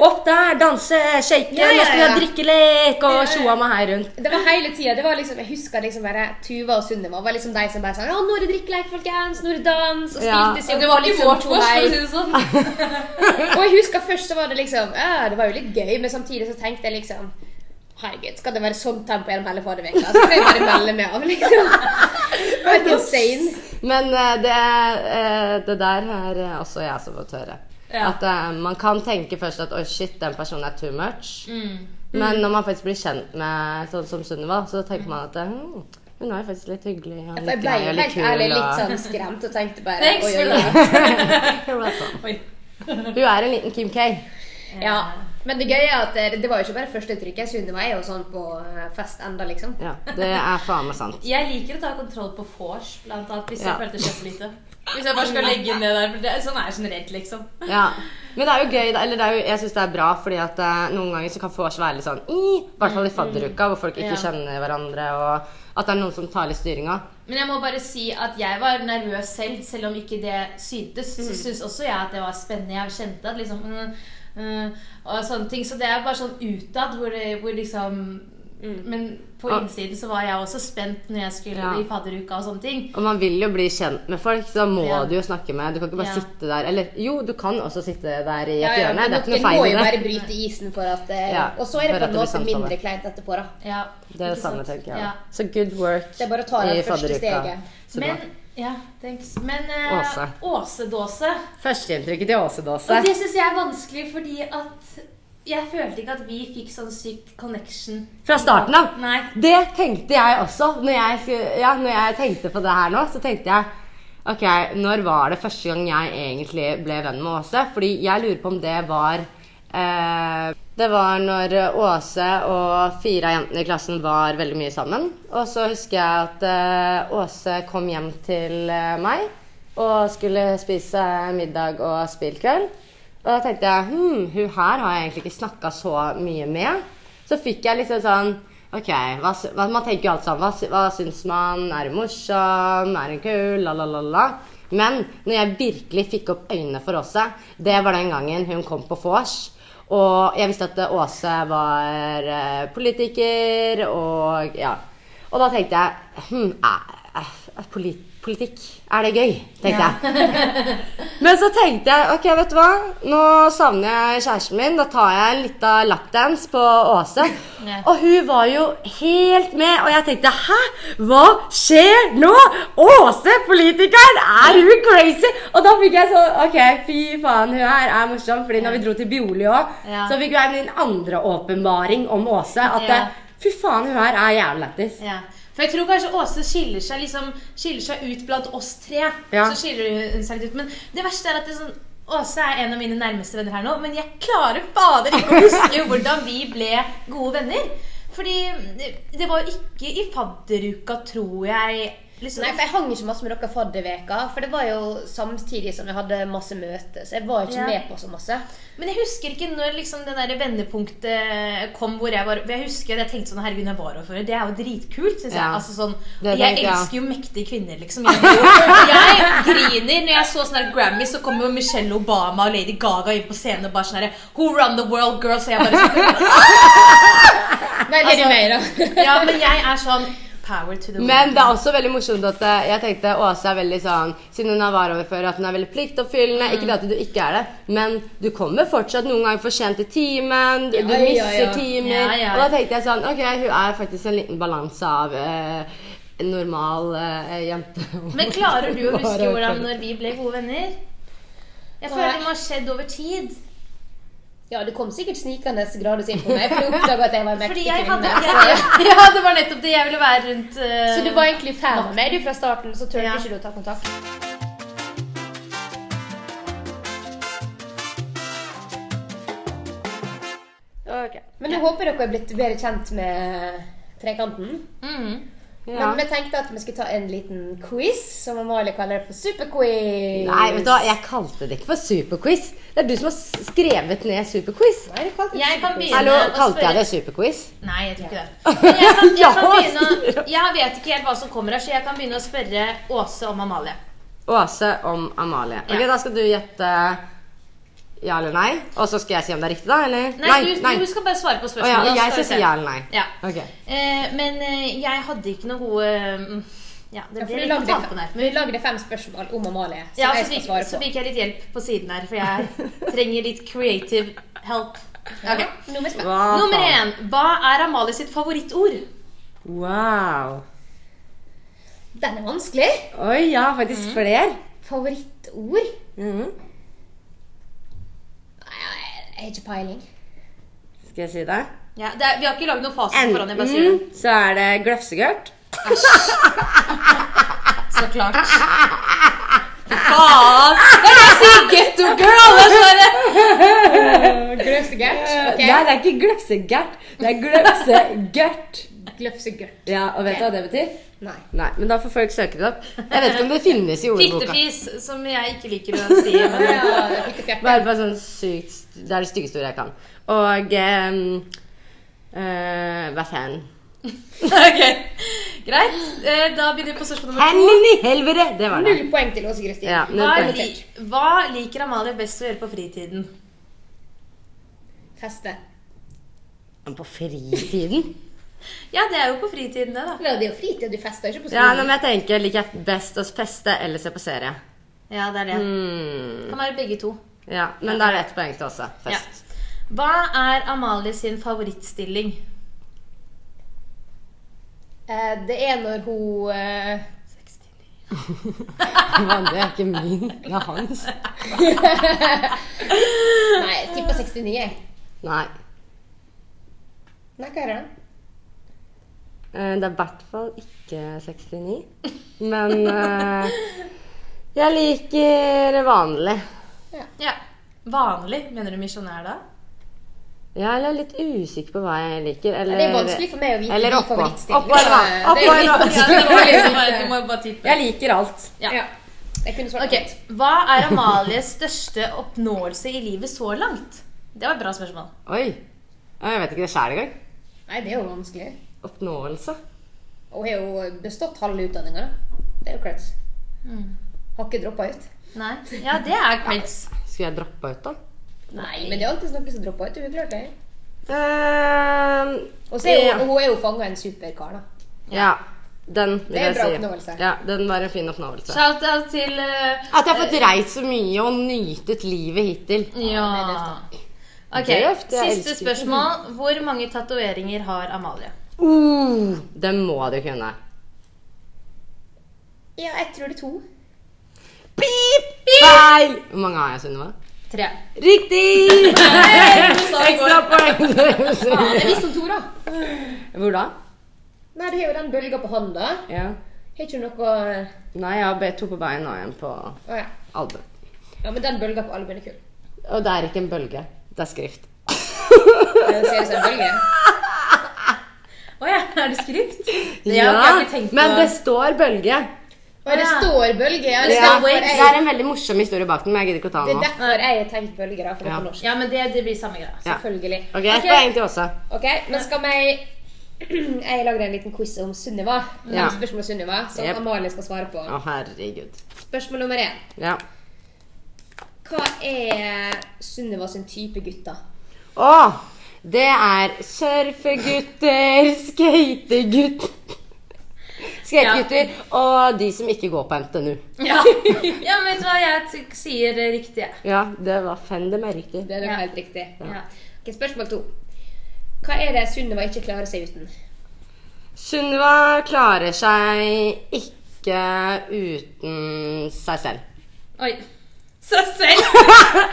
Speaker 3: Opp der, danse, shake,
Speaker 2: Ja, ja,
Speaker 3: nå skal vi ha
Speaker 2: ja.
Speaker 3: drikkelek og tjoa meg her rundt.
Speaker 2: Det var hele tida. Det var liksom, jeg husker liksom bare Tuva og Sunniva var liksom de som bare sa Ja, nå er det drikkelek, folkens! Nå er det dans! Og
Speaker 3: Ja.
Speaker 2: stilte seg
Speaker 1: Og det var
Speaker 2: opp
Speaker 1: litt
Speaker 2: liksom
Speaker 1: vårt
Speaker 2: to
Speaker 1: vors, for å
Speaker 2: vei.
Speaker 1: si det sånn.
Speaker 2: Og jeg husker først så var det liksom Ja, det var jo litt gøy, men samtidig så tenkte jeg liksom Herregud, skal det være sånn tempo gjennom hele forrige uke? Så skal jeg bare melde meg av, liksom. Det var helt insane.
Speaker 3: Men eh, det, eh, det der er eh, også jeg som har fått høre.
Speaker 1: Ja.
Speaker 3: At eh, man kan tenke først at 'oi, shit, den personen er too much'.
Speaker 2: Mm.
Speaker 3: Men når man faktisk blir kjent med sånn som Sunniva, så tenker man at eh, hm, hun er jo faktisk litt hyggelig og
Speaker 2: For jeg
Speaker 3: litt
Speaker 2: ble
Speaker 3: grei
Speaker 2: jo
Speaker 3: og litt
Speaker 2: helt
Speaker 3: kul.
Speaker 2: ærlig litt
Speaker 3: og-
Speaker 2: sånn skremt og tenkte bare
Speaker 1: Thanks
Speaker 2: oi,
Speaker 1: for
Speaker 2: oi, oi.
Speaker 3: You're welcome.
Speaker 1: Oi.
Speaker 3: sånn. Hun er en liten Kim K.
Speaker 2: Ja. Men det gøye er at eh, det, det var jo ikke bare førsteinntrykket. Sunniva er jo sånn på eh, fest enda, liksom.
Speaker 3: Ja, det er faen meg sant.
Speaker 1: Jeg liker å ta kontroll på vors, blant annet, hvis
Speaker 3: Ja.
Speaker 1: jeg føler det skjer for lite. Hvis jeg bare skal legge ned der. For det, sånn er jeg generelt, liksom.
Speaker 3: Ja. Men det er jo gøy, da- eller det er jo, jeg syns det er bra, fordi at eh, noen ganger så kan vors være litt sånn i, i hvert
Speaker 2: Mm,
Speaker 3: fall i fadderuka, hvor folk ikke
Speaker 1: Ja.
Speaker 3: kjenner hverandre, og at det er noen som tar litt styringa.
Speaker 1: Men jeg må bare si at jeg var nervøs selv, selv om ikke det syntes.
Speaker 3: Mm.
Speaker 1: Så syns også jeg at det var spennende. Jeg kjente at liksom mm, mm, Og sånne ting. Så det er bare sånn utad hvor, det, hvor liksom Men på
Speaker 3: Ja.
Speaker 1: innsiden så var jeg også spent når jeg skulle
Speaker 3: Ja.
Speaker 1: i fadderuka og sånne ting.
Speaker 3: Og man vil jo bli kjent med folk, så da må
Speaker 1: Ja.
Speaker 3: du jo snakke med Du kan ikke bare
Speaker 1: Ja.
Speaker 3: sitte der Eller jo, du kan også sitte der i et
Speaker 2: Ja, ja,
Speaker 3: hjørne.
Speaker 2: men
Speaker 3: Det er ikke
Speaker 2: dere
Speaker 3: noe feil
Speaker 2: må
Speaker 3: i
Speaker 2: jo bare
Speaker 3: det.
Speaker 2: bryte isen for at eh,
Speaker 3: Ja,
Speaker 2: Og så er
Speaker 3: for
Speaker 2: det
Speaker 3: at
Speaker 2: på en
Speaker 3: det blir
Speaker 2: måte
Speaker 3: samtale.
Speaker 2: mindre kleint etterpå, da.
Speaker 1: Ja,
Speaker 3: Det er
Speaker 1: ikke
Speaker 3: det samme,
Speaker 1: sant?
Speaker 3: tenker jeg.
Speaker 1: Ja.
Speaker 3: Så good work
Speaker 2: Det er bare å ta
Speaker 3: i
Speaker 2: det første
Speaker 3: fadderuka.
Speaker 2: steget.
Speaker 3: Så bra.
Speaker 1: Men ja, thanks. Men eh,
Speaker 3: Åse.
Speaker 1: Åsedåse
Speaker 3: Førsteinntrykket til Åsedåse.
Speaker 1: Og det syns jeg er vanskelig, fordi at jeg følte ikke at vi fikk sånn sykt connection.
Speaker 3: Fra starten av.
Speaker 1: Nei.
Speaker 3: Det tenkte jeg også. Når jeg, skulle- ja, når jeg tenkte på det her nå, så tenkte jeg Ok, når var det første gang jeg egentlig ble venn med Åse? Fordi jeg lurer på om det var eh, Det var når Åse og fire av jentene i klassen var veldig mye sammen. Og så husker jeg at eh, Åse kom hjem til eh, meg og skulle spise middag og spillkveld. Og da tenkte jeg hm, hun her har jeg egentlig ikke snakka så mye med. Så fikk jeg liksom sånn Ok, hva, sy- hva, Man tenker jo alt sånn Hva, sy- hva syns man? Er hun morsom? Er hun kul? La, la, la, la. Men når jeg virkelig fikk opp øynene for Åse, det var den gangen hun kom på vors. Og jeg visste at eh, Åse var eh, politiker og ja. Og da tenkte jeg hm, er, er, er polit, politikk, er det gøy? tenkte jeg. Men så tenkte jeg ok, vet du hva? Nå savner jeg kjæresten min. Da tar jeg en liten lapdance på Åse.
Speaker 1: Ja.
Speaker 3: Og hun var jo helt med, og jeg tenkte hæ? Hva skjer nå? Åse, politikeren! Er hun crazy? Og da fikk jeg sånn ok, fy faen, hun her er morsom. Fordi når vi dro til Bioli òg,
Speaker 1: Ja.
Speaker 3: så fikk jeg min andre åpenbaring om Åse. At
Speaker 1: Ja.
Speaker 3: fy faen, hun her er jævlig lættis.
Speaker 1: Ja. For jeg tror kanskje Åse skiller seg, liksom, skiller seg ut blant oss tre.
Speaker 3: Ja.
Speaker 1: Så skiller hun seg litt ut. Men det verste er at det er sånn, Åse er en av mine nærmeste venner her nå, men jeg klarer fader ikke å huske hvordan vi ble gode venner. Fordi det- det var jo ikke i fadderuka, tror jeg. Liksom.
Speaker 2: Nei, for Jeg hang ikke masse med dere fadderveka, for det var jo samtidig som jeg hadde masse møter. Så jeg var ikke
Speaker 1: Ja.
Speaker 2: med på så masse.
Speaker 1: Men jeg husker ikke når liksom det der vendepunktet kom. hvor Jeg var, jeg husker at jeg tenkte sånn Herregud, jeg var overfører. Det er jo dritkult, syns jeg.
Speaker 3: Ja.
Speaker 1: Altså sånn,
Speaker 3: Det
Speaker 1: Jeg
Speaker 3: tenkte jeg.
Speaker 1: elsker jo mektige kvinner, liksom. Jeg, jeg griner når jeg så sånn her Grammy, så kommer jo Michelle Obama og Lady Gaga inn på scenen og bare sånn herre Who run the world, girls? Og jeg bare sånn,
Speaker 2: Veldig
Speaker 1: Altså-
Speaker 2: mer, da.
Speaker 1: Ja, men jeg er sånn Power to the
Speaker 3: Men
Speaker 1: women.
Speaker 3: det er også veldig morsomt at eh, jeg tenkte Åse er veldig sånn Siden hun er varaordfører, at hun er veldig pliktoppfyllende.
Speaker 1: Mm.
Speaker 3: Ikke det at du ikke er det, men du kommer fortsatt noen ganger for sent til timen. Du,
Speaker 2: Ja,
Speaker 3: du
Speaker 2: ja, ja.
Speaker 3: misser timer.
Speaker 1: Ja, ja.
Speaker 3: Og da tenkte jeg sånn Ok, hun er faktisk en liten balanse av eh, en normal eh, jente.
Speaker 1: Men klarer du å huske hvordan når vi ble gode venner? Jeg føler det må ha skjedd over tid.
Speaker 2: Ja, du kom sikkert snikende gradvis inn på meg, for du oppdaga at jeg var en
Speaker 1: Fordi
Speaker 2: mektig
Speaker 1: jeg hadde
Speaker 2: kvinne.
Speaker 1: Ja, det var nettopp det jeg ville være rundt. eh,
Speaker 2: Så du var egentlig fan av meg du fra starten, så turte
Speaker 1: Ja.
Speaker 2: ikke du å ta kontakt. Ok. Men jeg håper dere er blitt bedre kjent med trekanten.
Speaker 1: Mhm.
Speaker 3: Ja.
Speaker 2: Men vi tenkte at vi skulle ta en liten quiz, som Amalie kaller for superquiz.
Speaker 3: Nei, vet du hva, jeg kalte det ikke for superquiz. Det er du som har s- skrevet ned superquiz.
Speaker 2: Nei, det kalte
Speaker 1: Jeg
Speaker 2: jeg
Speaker 1: kan
Speaker 2: superquiz.
Speaker 1: begynne
Speaker 3: Hallo,
Speaker 1: å
Speaker 3: kalte jeg
Speaker 1: spørre-
Speaker 3: det superquiz?
Speaker 1: Nei, jeg tror ikke det. Men Jeg, kan, jeg, kan
Speaker 3: Ja,
Speaker 1: begynne,
Speaker 3: sier
Speaker 1: jeg vet ikke helt hva som kommer her, så jeg kan begynne å spørre Åse om Amalie.
Speaker 3: Åse om Amalie. Ok,
Speaker 1: Ja.
Speaker 3: Da skal du gjette ja eller nei, og så skal jeg si om det er riktig, da? eller?
Speaker 1: Nei, du, du skal bare svare på
Speaker 3: Å ja,
Speaker 1: spørsmålet.
Speaker 3: og
Speaker 1: så
Speaker 3: jeg
Speaker 1: vi
Speaker 3: skal
Speaker 1: se.
Speaker 3: si ja eller nei.
Speaker 1: Ja.
Speaker 3: Ok.
Speaker 1: Eh, men eh, jeg hadde ikke noe gode mm, Ja, det
Speaker 2: Ja, for
Speaker 1: ble
Speaker 2: vi
Speaker 1: litt
Speaker 2: lagde,
Speaker 1: på tampen her.
Speaker 2: men vi lagde fem spørsmål om Amalie, som
Speaker 1: Ja, så
Speaker 2: jeg skal
Speaker 1: fikk,
Speaker 2: svare
Speaker 1: så
Speaker 2: på.
Speaker 1: fikk jeg litt hjelp på siden her, for jeg trenger litt creative help.
Speaker 2: Ja,
Speaker 1: Ok.
Speaker 2: nå er vi spent.
Speaker 3: Hva
Speaker 1: Nummer
Speaker 3: faen?
Speaker 1: én. Hva er Amalie sitt favorittord?
Speaker 3: Wow.
Speaker 2: Den er vanskelig.
Speaker 3: Oi, jeg har
Speaker 1: Mhm.
Speaker 3: faktisk flere.
Speaker 2: Favorittord?
Speaker 3: Mhm.
Speaker 2: Nei, jeg har ikke peiling.
Speaker 3: Skal jeg si det?
Speaker 1: Ja, det er, vi har ikke lagd noe fasit foran. Jeg bare sier det.
Speaker 3: Enten så er det gløfsegørt.
Speaker 1: Så klart. Faen! Jeg kan si getto girl! Det er sånn der-
Speaker 2: Gløsegert. Eh, ok.
Speaker 3: Nei, det er ikke gløfsegørt. Det er gløfsegørt.
Speaker 2: Gløfsegert.
Speaker 3: Ja, og vet du hva det betyr?
Speaker 2: Nei.
Speaker 3: Nei, men da får folk søke det opp. Jeg vet ikke om det
Speaker 1: ah.
Speaker 3: finnes i ordboka.
Speaker 1: Fittefis, som jeg ikke liker å si. Men
Speaker 2: Ja, jeg fikk det fjerde.
Speaker 3: Bare, bare sånn sykt st- Det er det styggeste ordet jeg kan. Og um, uh, Hva faen?
Speaker 1: ok, Greit. Eh, Da begynner vi på spørsmål nummer to.
Speaker 3: Helvete i helvete! Det var det.
Speaker 2: Null poeng til Åse Kristin.
Speaker 3: Ja, null
Speaker 1: Hva,
Speaker 3: poeng.
Speaker 1: li hva liker Amalie best å gjøre på fritiden?
Speaker 2: Feste.
Speaker 3: Men På fritiden?
Speaker 1: Ja, det er jo på fritiden, det, da.
Speaker 2: Men det er jo fritid, du fester ikke på
Speaker 3: Ja,
Speaker 2: skolen.
Speaker 3: nei, men jeg tenker liker jeg best å feste eller se på serie.
Speaker 1: Ja, det er det.
Speaker 3: Mm,
Speaker 1: Kan være begge to.
Speaker 3: ja, men da er det ett poeng til også. Fest.
Speaker 1: Hva er Amalie sin favorittstilling?
Speaker 2: Eh, det er når hun eh,
Speaker 3: Men det er ikke min, det er hans.
Speaker 2: Nei, jeg tipper 69. jeg.
Speaker 3: Nei.
Speaker 2: Nei, hva er det? da?
Speaker 3: Eh, Det er i hvert fall ikke 69. Men eh, jeg liker vanlig.
Speaker 1: Ja. Vanlig? Mener du misjonær da?
Speaker 3: Ja, eller jeg er litt usikker på hva jeg liker. Eller,
Speaker 2: Det er vanskelig for meg å vite
Speaker 3: Eller
Speaker 2: min
Speaker 3: oppå.
Speaker 2: favorittstilling.
Speaker 3: Oppå, eller hva?
Speaker 2: Eh, det er
Speaker 3: Oppå, eller
Speaker 1: Ja,
Speaker 3: hva?
Speaker 2: litt-
Speaker 1: det var jo bare, du må jo bare tippe.
Speaker 3: Jeg liker alt.
Speaker 1: Ja.
Speaker 2: Ja. Jeg kunne svart
Speaker 1: Ok, Hva er Amalies største oppnåelse i livet så langt? Det var et bra spørsmål.
Speaker 3: Oi. Ja, Jeg vet ikke det sjæl engang.
Speaker 2: Nei, det er jo vanskelig.
Speaker 3: Oppnåelse.
Speaker 2: Hun har jo bestått halve utdanninga. Det er jo creds.
Speaker 1: Mm.
Speaker 2: Har ikke droppa ut.
Speaker 1: Nei. Ja, det er creds.
Speaker 3: Skulle jeg droppa ut, da?
Speaker 2: Nei, men det er alltid noen som dropper ut. Hun har klart det.
Speaker 3: Eh,
Speaker 2: Og så er hun,
Speaker 3: ja.
Speaker 2: hun er jo fanga en superkar, da.
Speaker 3: ja. Den vil
Speaker 2: Det er en
Speaker 3: jeg
Speaker 2: bra
Speaker 3: si.
Speaker 2: oppnåelse.
Speaker 3: Ja, den var en fin oppnåelse.
Speaker 1: Shout-out til eh,
Speaker 3: At jeg har fått reist så mye og nytet livet hittil.
Speaker 1: Ja.
Speaker 2: det er
Speaker 1: Ok,
Speaker 3: Det er døft, jeg
Speaker 1: Siste
Speaker 3: elsker
Speaker 1: spørsmål. Hvor mange tatoveringer har Amalie?
Speaker 3: Uh, den må du kunne.
Speaker 2: Ja, jeg tror det er to.
Speaker 3: Pip! Feil! Hvor mange har jeg, Sunniva?
Speaker 1: Tre.
Speaker 3: Riktig! Ekstra
Speaker 1: Ekstra-
Speaker 3: poeng.
Speaker 2: Jeg visste om to, da.
Speaker 3: Hvor da?
Speaker 2: Nei, det er jo den bølga på hånda.
Speaker 3: Ja.
Speaker 2: Har ikke du noe Å
Speaker 3: Nei, jeg har be- to på beina og en på
Speaker 2: ja.
Speaker 3: albuen.
Speaker 2: ja, men den bølga på albuen er kul.
Speaker 3: Og det er ikke en bølge, det er skrift.
Speaker 2: Eh, Ser ut som en bølge.
Speaker 1: Å ja, er det skrift? Det har jeg ikke tenkt på.
Speaker 3: men det står bølge.
Speaker 2: Og det
Speaker 1: Ja.
Speaker 2: står bølge. Ja, det,
Speaker 1: Det
Speaker 2: er
Speaker 1: er
Speaker 2: derfor
Speaker 1: waves.
Speaker 3: Det
Speaker 2: jeg,
Speaker 3: er en veldig morsom historie bak den, men jeg gidder ikke å ta
Speaker 2: det
Speaker 3: den
Speaker 2: er
Speaker 3: nå.
Speaker 2: derfor jeg har tenkt bølger, da, for det er på
Speaker 3: Ja.
Speaker 2: norsk.
Speaker 1: Ja, men det, det blir samme greia.
Speaker 3: Ja.
Speaker 2: Selvfølgelig.
Speaker 3: Ok, ett
Speaker 1: Ok.
Speaker 3: poeng til Åse.
Speaker 2: Ok, Men skal vi Jeg lagde en liten quiz om Sunniva.
Speaker 3: Ja.
Speaker 2: Fem Spørsmål om Sunniva, som
Speaker 3: Jep.
Speaker 2: Amalie skal svare på.
Speaker 3: Å, herregud.
Speaker 2: Spørsmål nummer én.
Speaker 3: Ja.
Speaker 2: Hva er Sunniva sin type gutter?
Speaker 3: Å, det er surfegutter, skategutter Skategutter og de som ikke går på NTNU.
Speaker 1: Ja. ja, men vet du hva jeg t- sier det riktig? jeg.
Speaker 3: Ja, det var fender meg riktig.
Speaker 2: Det er nok
Speaker 1: Ja.
Speaker 2: helt riktig.
Speaker 1: Ja.
Speaker 2: Ok, Spørsmål to. Hva er det Sunniva ikke klarer seg uten?
Speaker 3: Sunniva klarer seg ikke uten seg selv.
Speaker 1: Oi. Seg selv!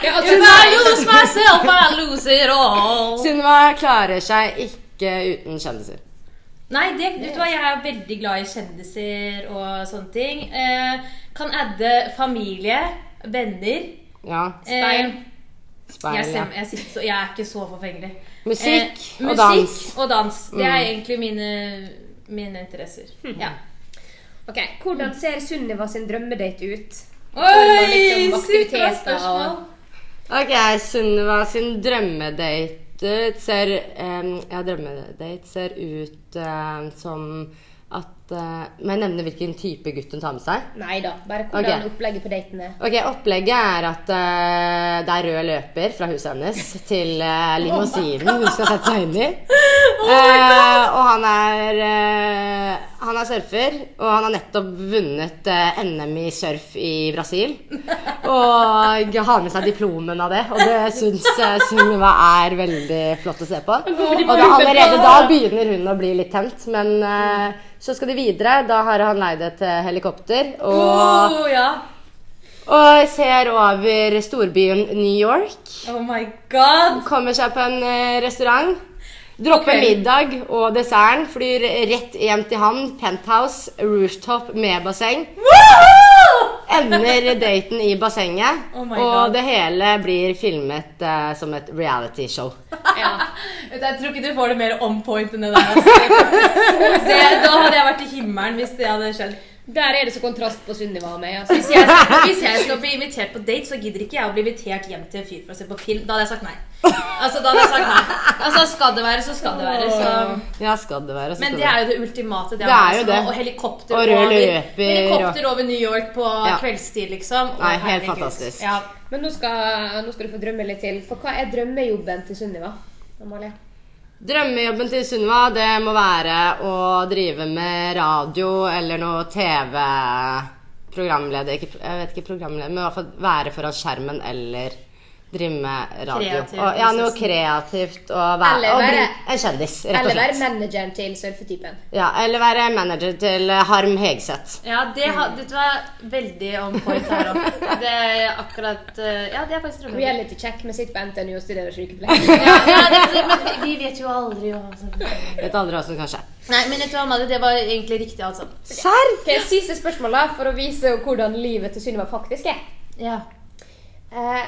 Speaker 2: Ja, altså,
Speaker 1: If I lose myself, I lose it all.
Speaker 3: Sunniva klarer seg ikke uten kjendiser.
Speaker 1: Nei, det, vet du hva, jeg er veldig glad i kjendiser og sånne ting. Eh, kan adde familie, venner.
Speaker 3: Ja,
Speaker 1: Eh, jeg,
Speaker 3: speil. Ja.
Speaker 1: ser, jeg, sitter, så- jeg er ikke så forfengelig.
Speaker 3: Musikk
Speaker 1: eh,
Speaker 3: og dans. Mm.
Speaker 1: Musikk og dans. Det er egentlig mine, mine interesser. Ja.
Speaker 2: Ok, Hvordan ser Sunniva sin drømmedate ut?
Speaker 1: Mm. Oi,
Speaker 2: liksom
Speaker 1: sykt bra
Speaker 2: aktiviteter
Speaker 1: spørsmål!
Speaker 2: og-
Speaker 3: Ok, Sunniva sin drømmedate ser em, Ja, drømmedate ser ut eh, som at eh, Må jeg nevne hvilken type gutt hun tar med seg?
Speaker 2: Nei da, bare hvordan
Speaker 3: Ok.
Speaker 2: opplegget på daten er.
Speaker 3: Ok, Opplegget er at eh, det er rød løper fra huset hennes til eh, limousinen hun skal sette seg inn i. Eh, og han er eh, Han er surfer, og han har nettopp vunnet eh, NM i surf i Brasil. Og har med seg diplomen av det, og det syns eh, Sunniva er veldig flott å se på. Og da, allerede da begynner hun å bli litt tent, men eh, så skal de videre. Da har han leid et eh, helikopter. og...
Speaker 1: Oh, ja.
Speaker 3: Og ser over storbyen New York.
Speaker 1: oh my god!
Speaker 3: Kommer seg på en eh, restaurant. Dropper
Speaker 1: Ok.
Speaker 3: middag og desserten. Flyr rett hjem til han. Penthouse, rooftop med basseng. Ender daten i bassenget.
Speaker 1: Oh my
Speaker 3: og
Speaker 1: God.
Speaker 3: det hele blir filmet eh, som et realityshow.
Speaker 2: Ja.
Speaker 1: Vet du, Jeg tror ikke du får det mer on point enn det der. altså. Det, da hadde jeg vært i himmelen hvis det hadde skjedd.
Speaker 2: Der er det så kontrast på Sunniva og meg. Altså.
Speaker 1: Hvis jeg, skal- hvis jeg skal bli invitert på date, så gidder ikke jeg å bli invitert hjem til en fyr for å se på film. Da hadde jeg sagt nei. Altså, da hadde jeg sagt nei. Altså, skal det være, så skal det være.
Speaker 2: sånn.
Speaker 1: Så.
Speaker 3: Ja, skal det være. så
Speaker 1: Men
Speaker 3: skal
Speaker 1: det er jo det ultimate. Det,
Speaker 3: Det er jo
Speaker 1: altså,
Speaker 3: det.
Speaker 1: Og helikopter,
Speaker 3: Og rød
Speaker 1: over,
Speaker 3: løper,
Speaker 1: helikopter over New York på
Speaker 3: Ja.
Speaker 1: kveldstid, liksom. Å,
Speaker 3: Nei, helt
Speaker 1: herregud.
Speaker 3: fantastisk.
Speaker 1: Ja.
Speaker 2: Men nå skal, nå skal du få drømme litt til. For hva er drømmejobben til Sunniva? Amalie?
Speaker 3: Drømmejobben til Sunniva, det må være å drive med radio eller noe TV Programleder ikke, Jeg vet ikke programleder, men i hvert fall være foran skjermen eller drive med radio.
Speaker 1: Kreativ
Speaker 3: og, ja, noe
Speaker 1: prosessen.
Speaker 3: kreativt og være
Speaker 2: Eller
Speaker 3: og bli
Speaker 2: være-
Speaker 3: en kjendis, rett og
Speaker 2: Eller være
Speaker 3: slett.
Speaker 2: manageren til surfetypen.
Speaker 3: Ja, eller være manager til eh, Harm Hegseth.
Speaker 1: Ja, det har, dette var veldig on point her òg. Det er akkurat eh, Ja, det er faktisk drømmen.
Speaker 2: Reality check med sitt på NTNU og studerer sykepleier.
Speaker 1: Ja, ja, det, men vi vet jo aldri hva som
Speaker 3: Vet aldri hva som kan skje.
Speaker 1: Nei, men vet du hva, Madde, det var egentlig riktig, altså.
Speaker 3: Serr?
Speaker 2: Ok, Siste spørsmål da, for å vise hvordan livet til Sunniva faktisk er.
Speaker 1: Ja.
Speaker 2: Eh,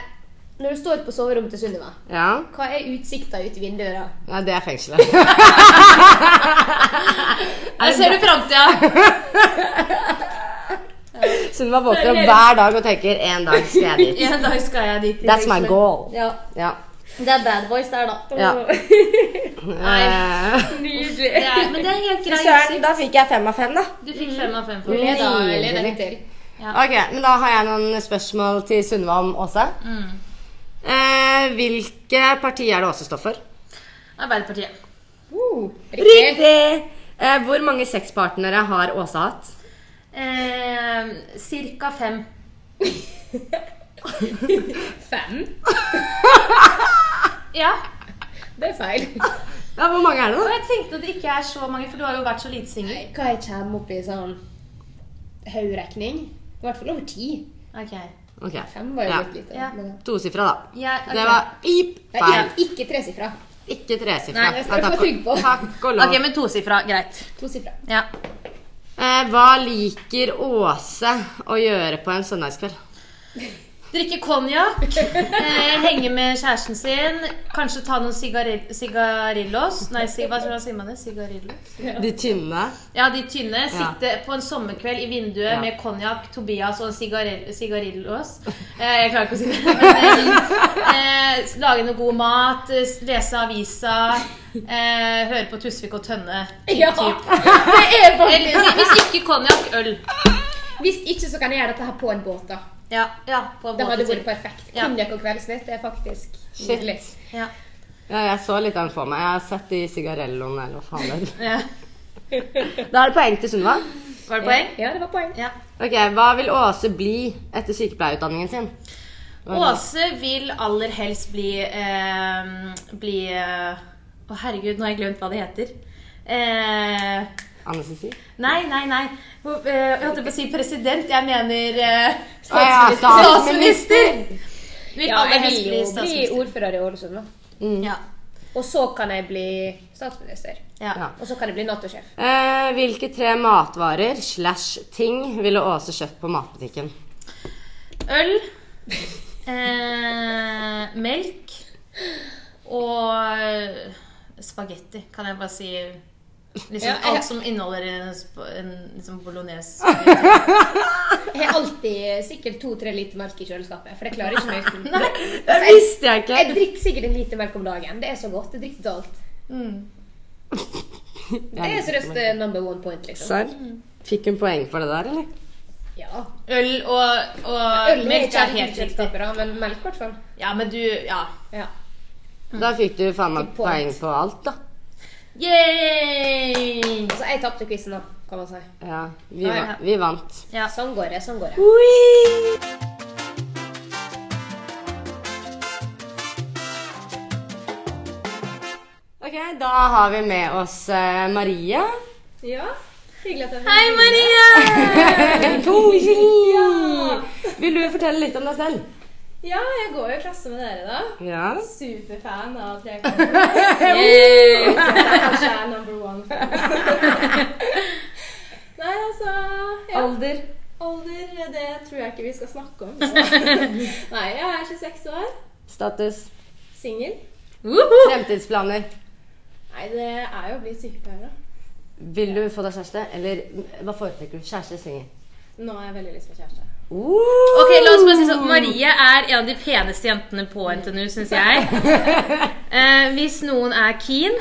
Speaker 2: når du står på soverommet til Sunniva,
Speaker 3: Ja.
Speaker 2: hva er utsikta ut vinduet da?
Speaker 3: Nei, det er fengselet.
Speaker 1: Her ser du framtida!
Speaker 3: Sunniva våkner opp hver dag og tenker 'en dag skal jeg dit'.
Speaker 1: En dag skal jeg dit. i
Speaker 3: That's my
Speaker 1: fengselet.
Speaker 3: goal.
Speaker 2: Ja,
Speaker 3: Ja.
Speaker 2: Det er bad boys der, da.
Speaker 3: Ja.
Speaker 1: Nei.
Speaker 3: Eh,
Speaker 2: Nydelig.
Speaker 1: Det er, men det er helt greit.
Speaker 3: Søren, da fikk jeg fem av fem, da.
Speaker 1: Du fikk fem av fem på
Speaker 2: Du
Speaker 1: det.
Speaker 2: leder,
Speaker 3: Nydelig.
Speaker 2: leder den til.
Speaker 1: Ja.
Speaker 3: Ok, men Da har jeg noen spørsmål til Sunniva om Åse.
Speaker 1: Mm.
Speaker 3: Eh, hvilke parti er det Åse står for?
Speaker 1: Arbeiderpartiet.
Speaker 2: Uh, riktig.
Speaker 3: Eh, hvor mange sexpartnere har Åse hatt?
Speaker 1: Eh, cirka fem.
Speaker 2: Fem.
Speaker 1: Ja.
Speaker 2: Det er feil.
Speaker 3: Ja, Hvor mange er det,
Speaker 1: Og
Speaker 3: da?
Speaker 1: jeg tenkte at det ikke er så mange, for du har jo vært så lite singel.
Speaker 2: Hva jeg kommer opp i sånn haugrekning? I hvert fall over ti.
Speaker 1: Ok.
Speaker 3: Ok,
Speaker 2: Fem var jo
Speaker 3: Ja.
Speaker 2: litt lite.
Speaker 1: Ja.
Speaker 2: men-
Speaker 3: Tosifra, da.
Speaker 1: Ja, ok.
Speaker 3: Det var pip
Speaker 2: Nei,
Speaker 3: feil.
Speaker 2: ikke, ikke tresifra.
Speaker 3: Ikke tresifra.
Speaker 1: Nei,
Speaker 2: det skal
Speaker 3: Nei,
Speaker 2: du
Speaker 3: takk
Speaker 2: få
Speaker 3: og-
Speaker 2: trygg på.
Speaker 3: Takk og lov.
Speaker 1: Ok, men tosifra. Greit.
Speaker 2: Tosifra.
Speaker 1: Ja.
Speaker 3: eh, hva liker Åse å gjøre på en søndagskveld?
Speaker 1: Drikke konjakk, eh, henge med kjæresten sin, kanskje ta noen sigari- sigarillos Nei, si, hva hva sier man det? Sigarillos?
Speaker 3: De tynne.
Speaker 1: Ja, de tynne. Sitte på en sommerkveld i vinduet
Speaker 3: Ja.
Speaker 1: med konjakk, Tobias og en sigari- sigarillos. Eh, jeg klarer ikke å si det. Men, eh, eh, lage noe god mat, eh, lese avisa, eh, høre på Tusvik og Tønne.
Speaker 2: Ja! Det er
Speaker 1: Eller,
Speaker 2: faktisk
Speaker 1: hvis ikke konjakk, øl.
Speaker 2: Hvis ikke, så kan jeg gjøre dette her på en båt, da.
Speaker 1: Ja, ja, på en
Speaker 2: Det hadde
Speaker 1: måte
Speaker 2: vært
Speaker 1: til.
Speaker 2: perfekt.
Speaker 1: Ja.
Speaker 2: Konjakk og kveldsnytt det er faktisk
Speaker 3: Shit.
Speaker 2: nydelig.
Speaker 1: Ja.
Speaker 3: Ja, jeg så litt av den for meg. Jeg har sett de sigarelloene, eller hva faen det er.
Speaker 1: Ja.
Speaker 3: Da er det poeng til Sunniva.
Speaker 1: Var det poeng?
Speaker 2: Ja, det var poeng.
Speaker 1: Ja.
Speaker 3: Ok, Hva vil Åse bli etter sykepleierutdanningen sin?
Speaker 1: Åse vil aller helst bli eh, Bli eh, Å, herregud, nå har jeg glemt hva det heter. Eh,
Speaker 3: Anestesi?
Speaker 1: nei, nei, nei. Hun, eh, Jeg holdt på å si president. Jeg mener eh,
Speaker 3: Å ja,
Speaker 1: statsminister! Hun Vil
Speaker 2: Ja,
Speaker 1: aller
Speaker 2: jeg
Speaker 1: helst
Speaker 2: vil
Speaker 1: bli
Speaker 2: jo bli
Speaker 1: statsminister.
Speaker 2: ordfører i Ålesund, da.
Speaker 3: Mm.
Speaker 1: Ja.
Speaker 2: Og så kan jeg bli statsminister.
Speaker 1: ja.
Speaker 3: Ja.
Speaker 2: Og så kan jeg bli Nato-sjef.
Speaker 3: Eh, hvilke tre matvarer slash ting ville Åse kjøpt på matbutikken?
Speaker 1: Øl. Eh, melk. Og spagetti, kan jeg bare si. Liksom
Speaker 2: Ja, jeg-
Speaker 1: Alt som inneholder en, sp- en liksom bolognese.
Speaker 2: Jeg har alltid sikkert to-tre liter melk i kjøleskapet, for jeg klarer ikke mer uten.
Speaker 3: Det visste jeg
Speaker 2: Jeg
Speaker 3: ikke!
Speaker 2: drikker sikkert en liter melk om dagen. Det er så godt. Jeg drikker til alt.
Speaker 1: Mm.
Speaker 2: Det er seriøst eh, number one point, liksom.
Speaker 3: Serr? Fikk hun poeng for det der, eller?
Speaker 2: Ja.
Speaker 1: Øl og, og
Speaker 2: Øl er
Speaker 1: melk
Speaker 2: ikke
Speaker 1: er helt
Speaker 2: helt
Speaker 1: riktig.
Speaker 2: kjøleskapet, da, men melk i hvert fall.
Speaker 1: Ja, men du Ja.
Speaker 2: Ja.
Speaker 3: Da fikk du faen meg
Speaker 2: Mm. Fikk
Speaker 3: poeng
Speaker 2: poeng.
Speaker 3: på alt, da.
Speaker 1: Yay!
Speaker 2: Så Altså, jeg tapte quizen, da, kan man si.
Speaker 3: Ja, vi,
Speaker 2: Ja,
Speaker 3: va
Speaker 1: ja.
Speaker 3: vi vant.
Speaker 1: Ja.
Speaker 2: Sånn går det. Sånn går det.
Speaker 3: Ui! Ok, da har vi med oss eh, Marie.
Speaker 2: Ja. Hyggelig at du
Speaker 1: Hei, Maria!
Speaker 3: Koselig! Vil du fortelle litt om deg selv?
Speaker 4: Ja, jeg går jo i klasse med dere, da.
Speaker 3: Ja.
Speaker 4: Superfan av Trekanten.
Speaker 3: Eh.
Speaker 1: Yay!
Speaker 4: Kanskje jeg er number one fan. Nei, altså ja.
Speaker 3: Alder?
Speaker 4: Alder, det tror jeg ikke vi skal snakke om. Nei, jeg er 26 år.
Speaker 3: Status?
Speaker 4: Singel.
Speaker 1: Woohoo!
Speaker 3: Fremtidsplaner?
Speaker 4: Nei, det er jo å bli sykepleier, da.
Speaker 3: Vil du få deg kjæreste? Eller hva foretrekker du? Kjæreste eller singel?
Speaker 4: Nå har jeg veldig lyst på kjæreste.
Speaker 1: Ok, la oss bare si sånn Marie er en av de peneste jentene på NTNU, syns jeg. Eh, hvis noen er keen,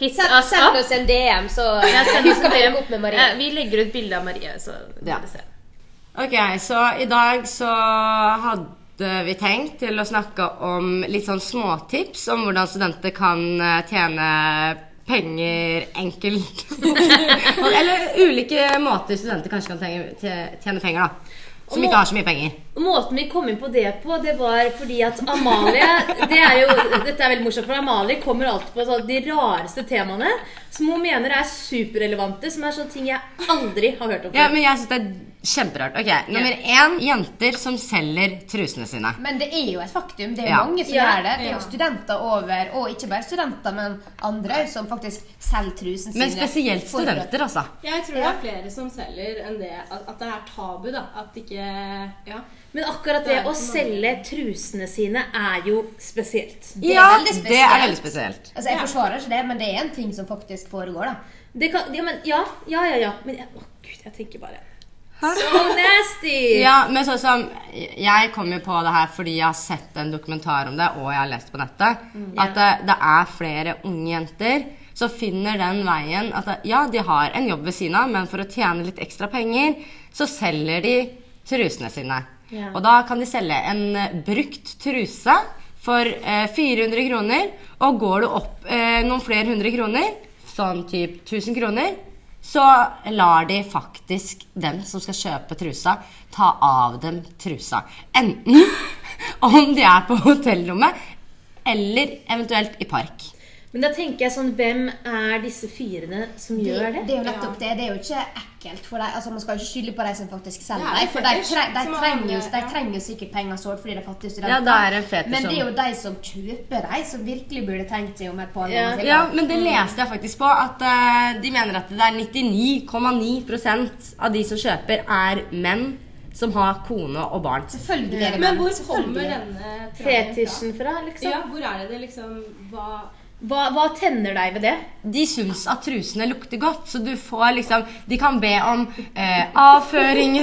Speaker 1: hit
Speaker 2: Send,
Speaker 1: us
Speaker 2: send
Speaker 1: up.
Speaker 2: oss en DM, så
Speaker 1: Ja, send
Speaker 2: vi
Speaker 1: oss
Speaker 2: skal
Speaker 1: en DM.
Speaker 2: henge opp med Marie.
Speaker 1: Eh, vi legger ut bilde av Marie. Så
Speaker 3: Ja.
Speaker 1: dere ser.
Speaker 3: Ok, så i dag så had, hadde vi tenkt til å snakke om litt sånn småtips om hvordan studenter kan eh, tjene penger enkelt. Eller ulike måter studenter kanskje kan tjene, tje- tjene penger, da. Som ikke har så mye penger.
Speaker 1: Måten vi kom inn på det på, det var fordi at Amalie det er jo, Dette er veldig morsomt, for Amalie kommer alltid på sånn de rareste temaene som hun mener er superrelevante, som er sånne ting jeg aldri har hørt om.
Speaker 3: Ja,
Speaker 1: før.
Speaker 3: men jeg synes det er kjemperart. Ok, Nummer én jenter som selger trusene sine.
Speaker 2: Men det er jo et faktum. Det er jo
Speaker 3: Ja.
Speaker 2: mange som
Speaker 1: Ja.
Speaker 2: gjør det. Det er jo studenter over, og ikke bare studenter, men andre som faktisk selger trusen sine.
Speaker 3: Men spesielt
Speaker 2: for å-
Speaker 3: studenter, altså.
Speaker 4: Jeg tror det er flere som selger enn det at, at det er tabu, da. At ikke Ja.
Speaker 1: Men akkurat det å selge trusene sine er jo spesielt.
Speaker 2: Det er
Speaker 3: Ja,
Speaker 2: veldig
Speaker 3: det er
Speaker 2: spesielt.
Speaker 3: veldig spesielt.
Speaker 2: Altså, Jeg forsvarer ikke det, men det er en ting som faktisk foregår. da.
Speaker 1: Det kan, ja, men, ja, ja, ja, ja. Men jeg, å gud, jeg tenker bare So nasty!
Speaker 3: Ja, men sånn som Jeg kom jo på det her fordi jeg har sett en dokumentar om det, og jeg har lest på nettet. At det, det er flere unge jenter som finner den veien at det, ja, de har en jobb ved siden av, men for å tjene litt ekstra penger, så selger de trusene sine.
Speaker 1: Ja.
Speaker 3: Og da kan de selge en eh, brukt truse for eh, 400 kroner, og går du opp eh, noen flere hundre kroner, sånn typ 1000 kroner, så lar de faktisk den som skal kjøpe trusa, ta av dem trusa. Enten om de er på hotellrommet, eller eventuelt i park.
Speaker 1: Men da tenker jeg sånn, hvem er disse fyrene som
Speaker 2: Det,
Speaker 1: gjør
Speaker 2: det
Speaker 1: det?
Speaker 2: er jo nettopp det. Det er jo ikke ekkelt for deg. Altså, Man skal jo ikke skylde på de som faktisk selger
Speaker 4: Det er
Speaker 2: dem.
Speaker 4: jo
Speaker 2: For de,
Speaker 4: fetisj,
Speaker 2: tre, de,
Speaker 4: som alle
Speaker 2: trenger, jo-
Speaker 4: andre,
Speaker 2: de
Speaker 4: ja.
Speaker 2: trenger jo sikkert penger sårt fordi de er fattige studenter.
Speaker 3: Ja, da er det en fetisj
Speaker 2: men det er
Speaker 3: som-
Speaker 2: jo de som kjøper dem, som virkelig burde tenkt seg om et par
Speaker 1: Ja.
Speaker 2: ganger. til,
Speaker 3: Ja,
Speaker 2: da.
Speaker 3: men det leste jeg faktisk på, at eh, de mener at det er 99,9 av de som kjøper, er menn som har kone og barn.
Speaker 2: Selvfølgelig er det
Speaker 4: Men
Speaker 2: menn,
Speaker 4: hvor
Speaker 2: selvfølgelig.
Speaker 4: kommer denne trangen
Speaker 1: Fetisjen fra,
Speaker 4: fra?
Speaker 1: liksom?
Speaker 4: Ja, hvor er det det liksom Hva
Speaker 1: Hva, hva tenner deg ved det?
Speaker 3: de syns at trusene lukter godt, så du får liksom De kan be om eh, avføring i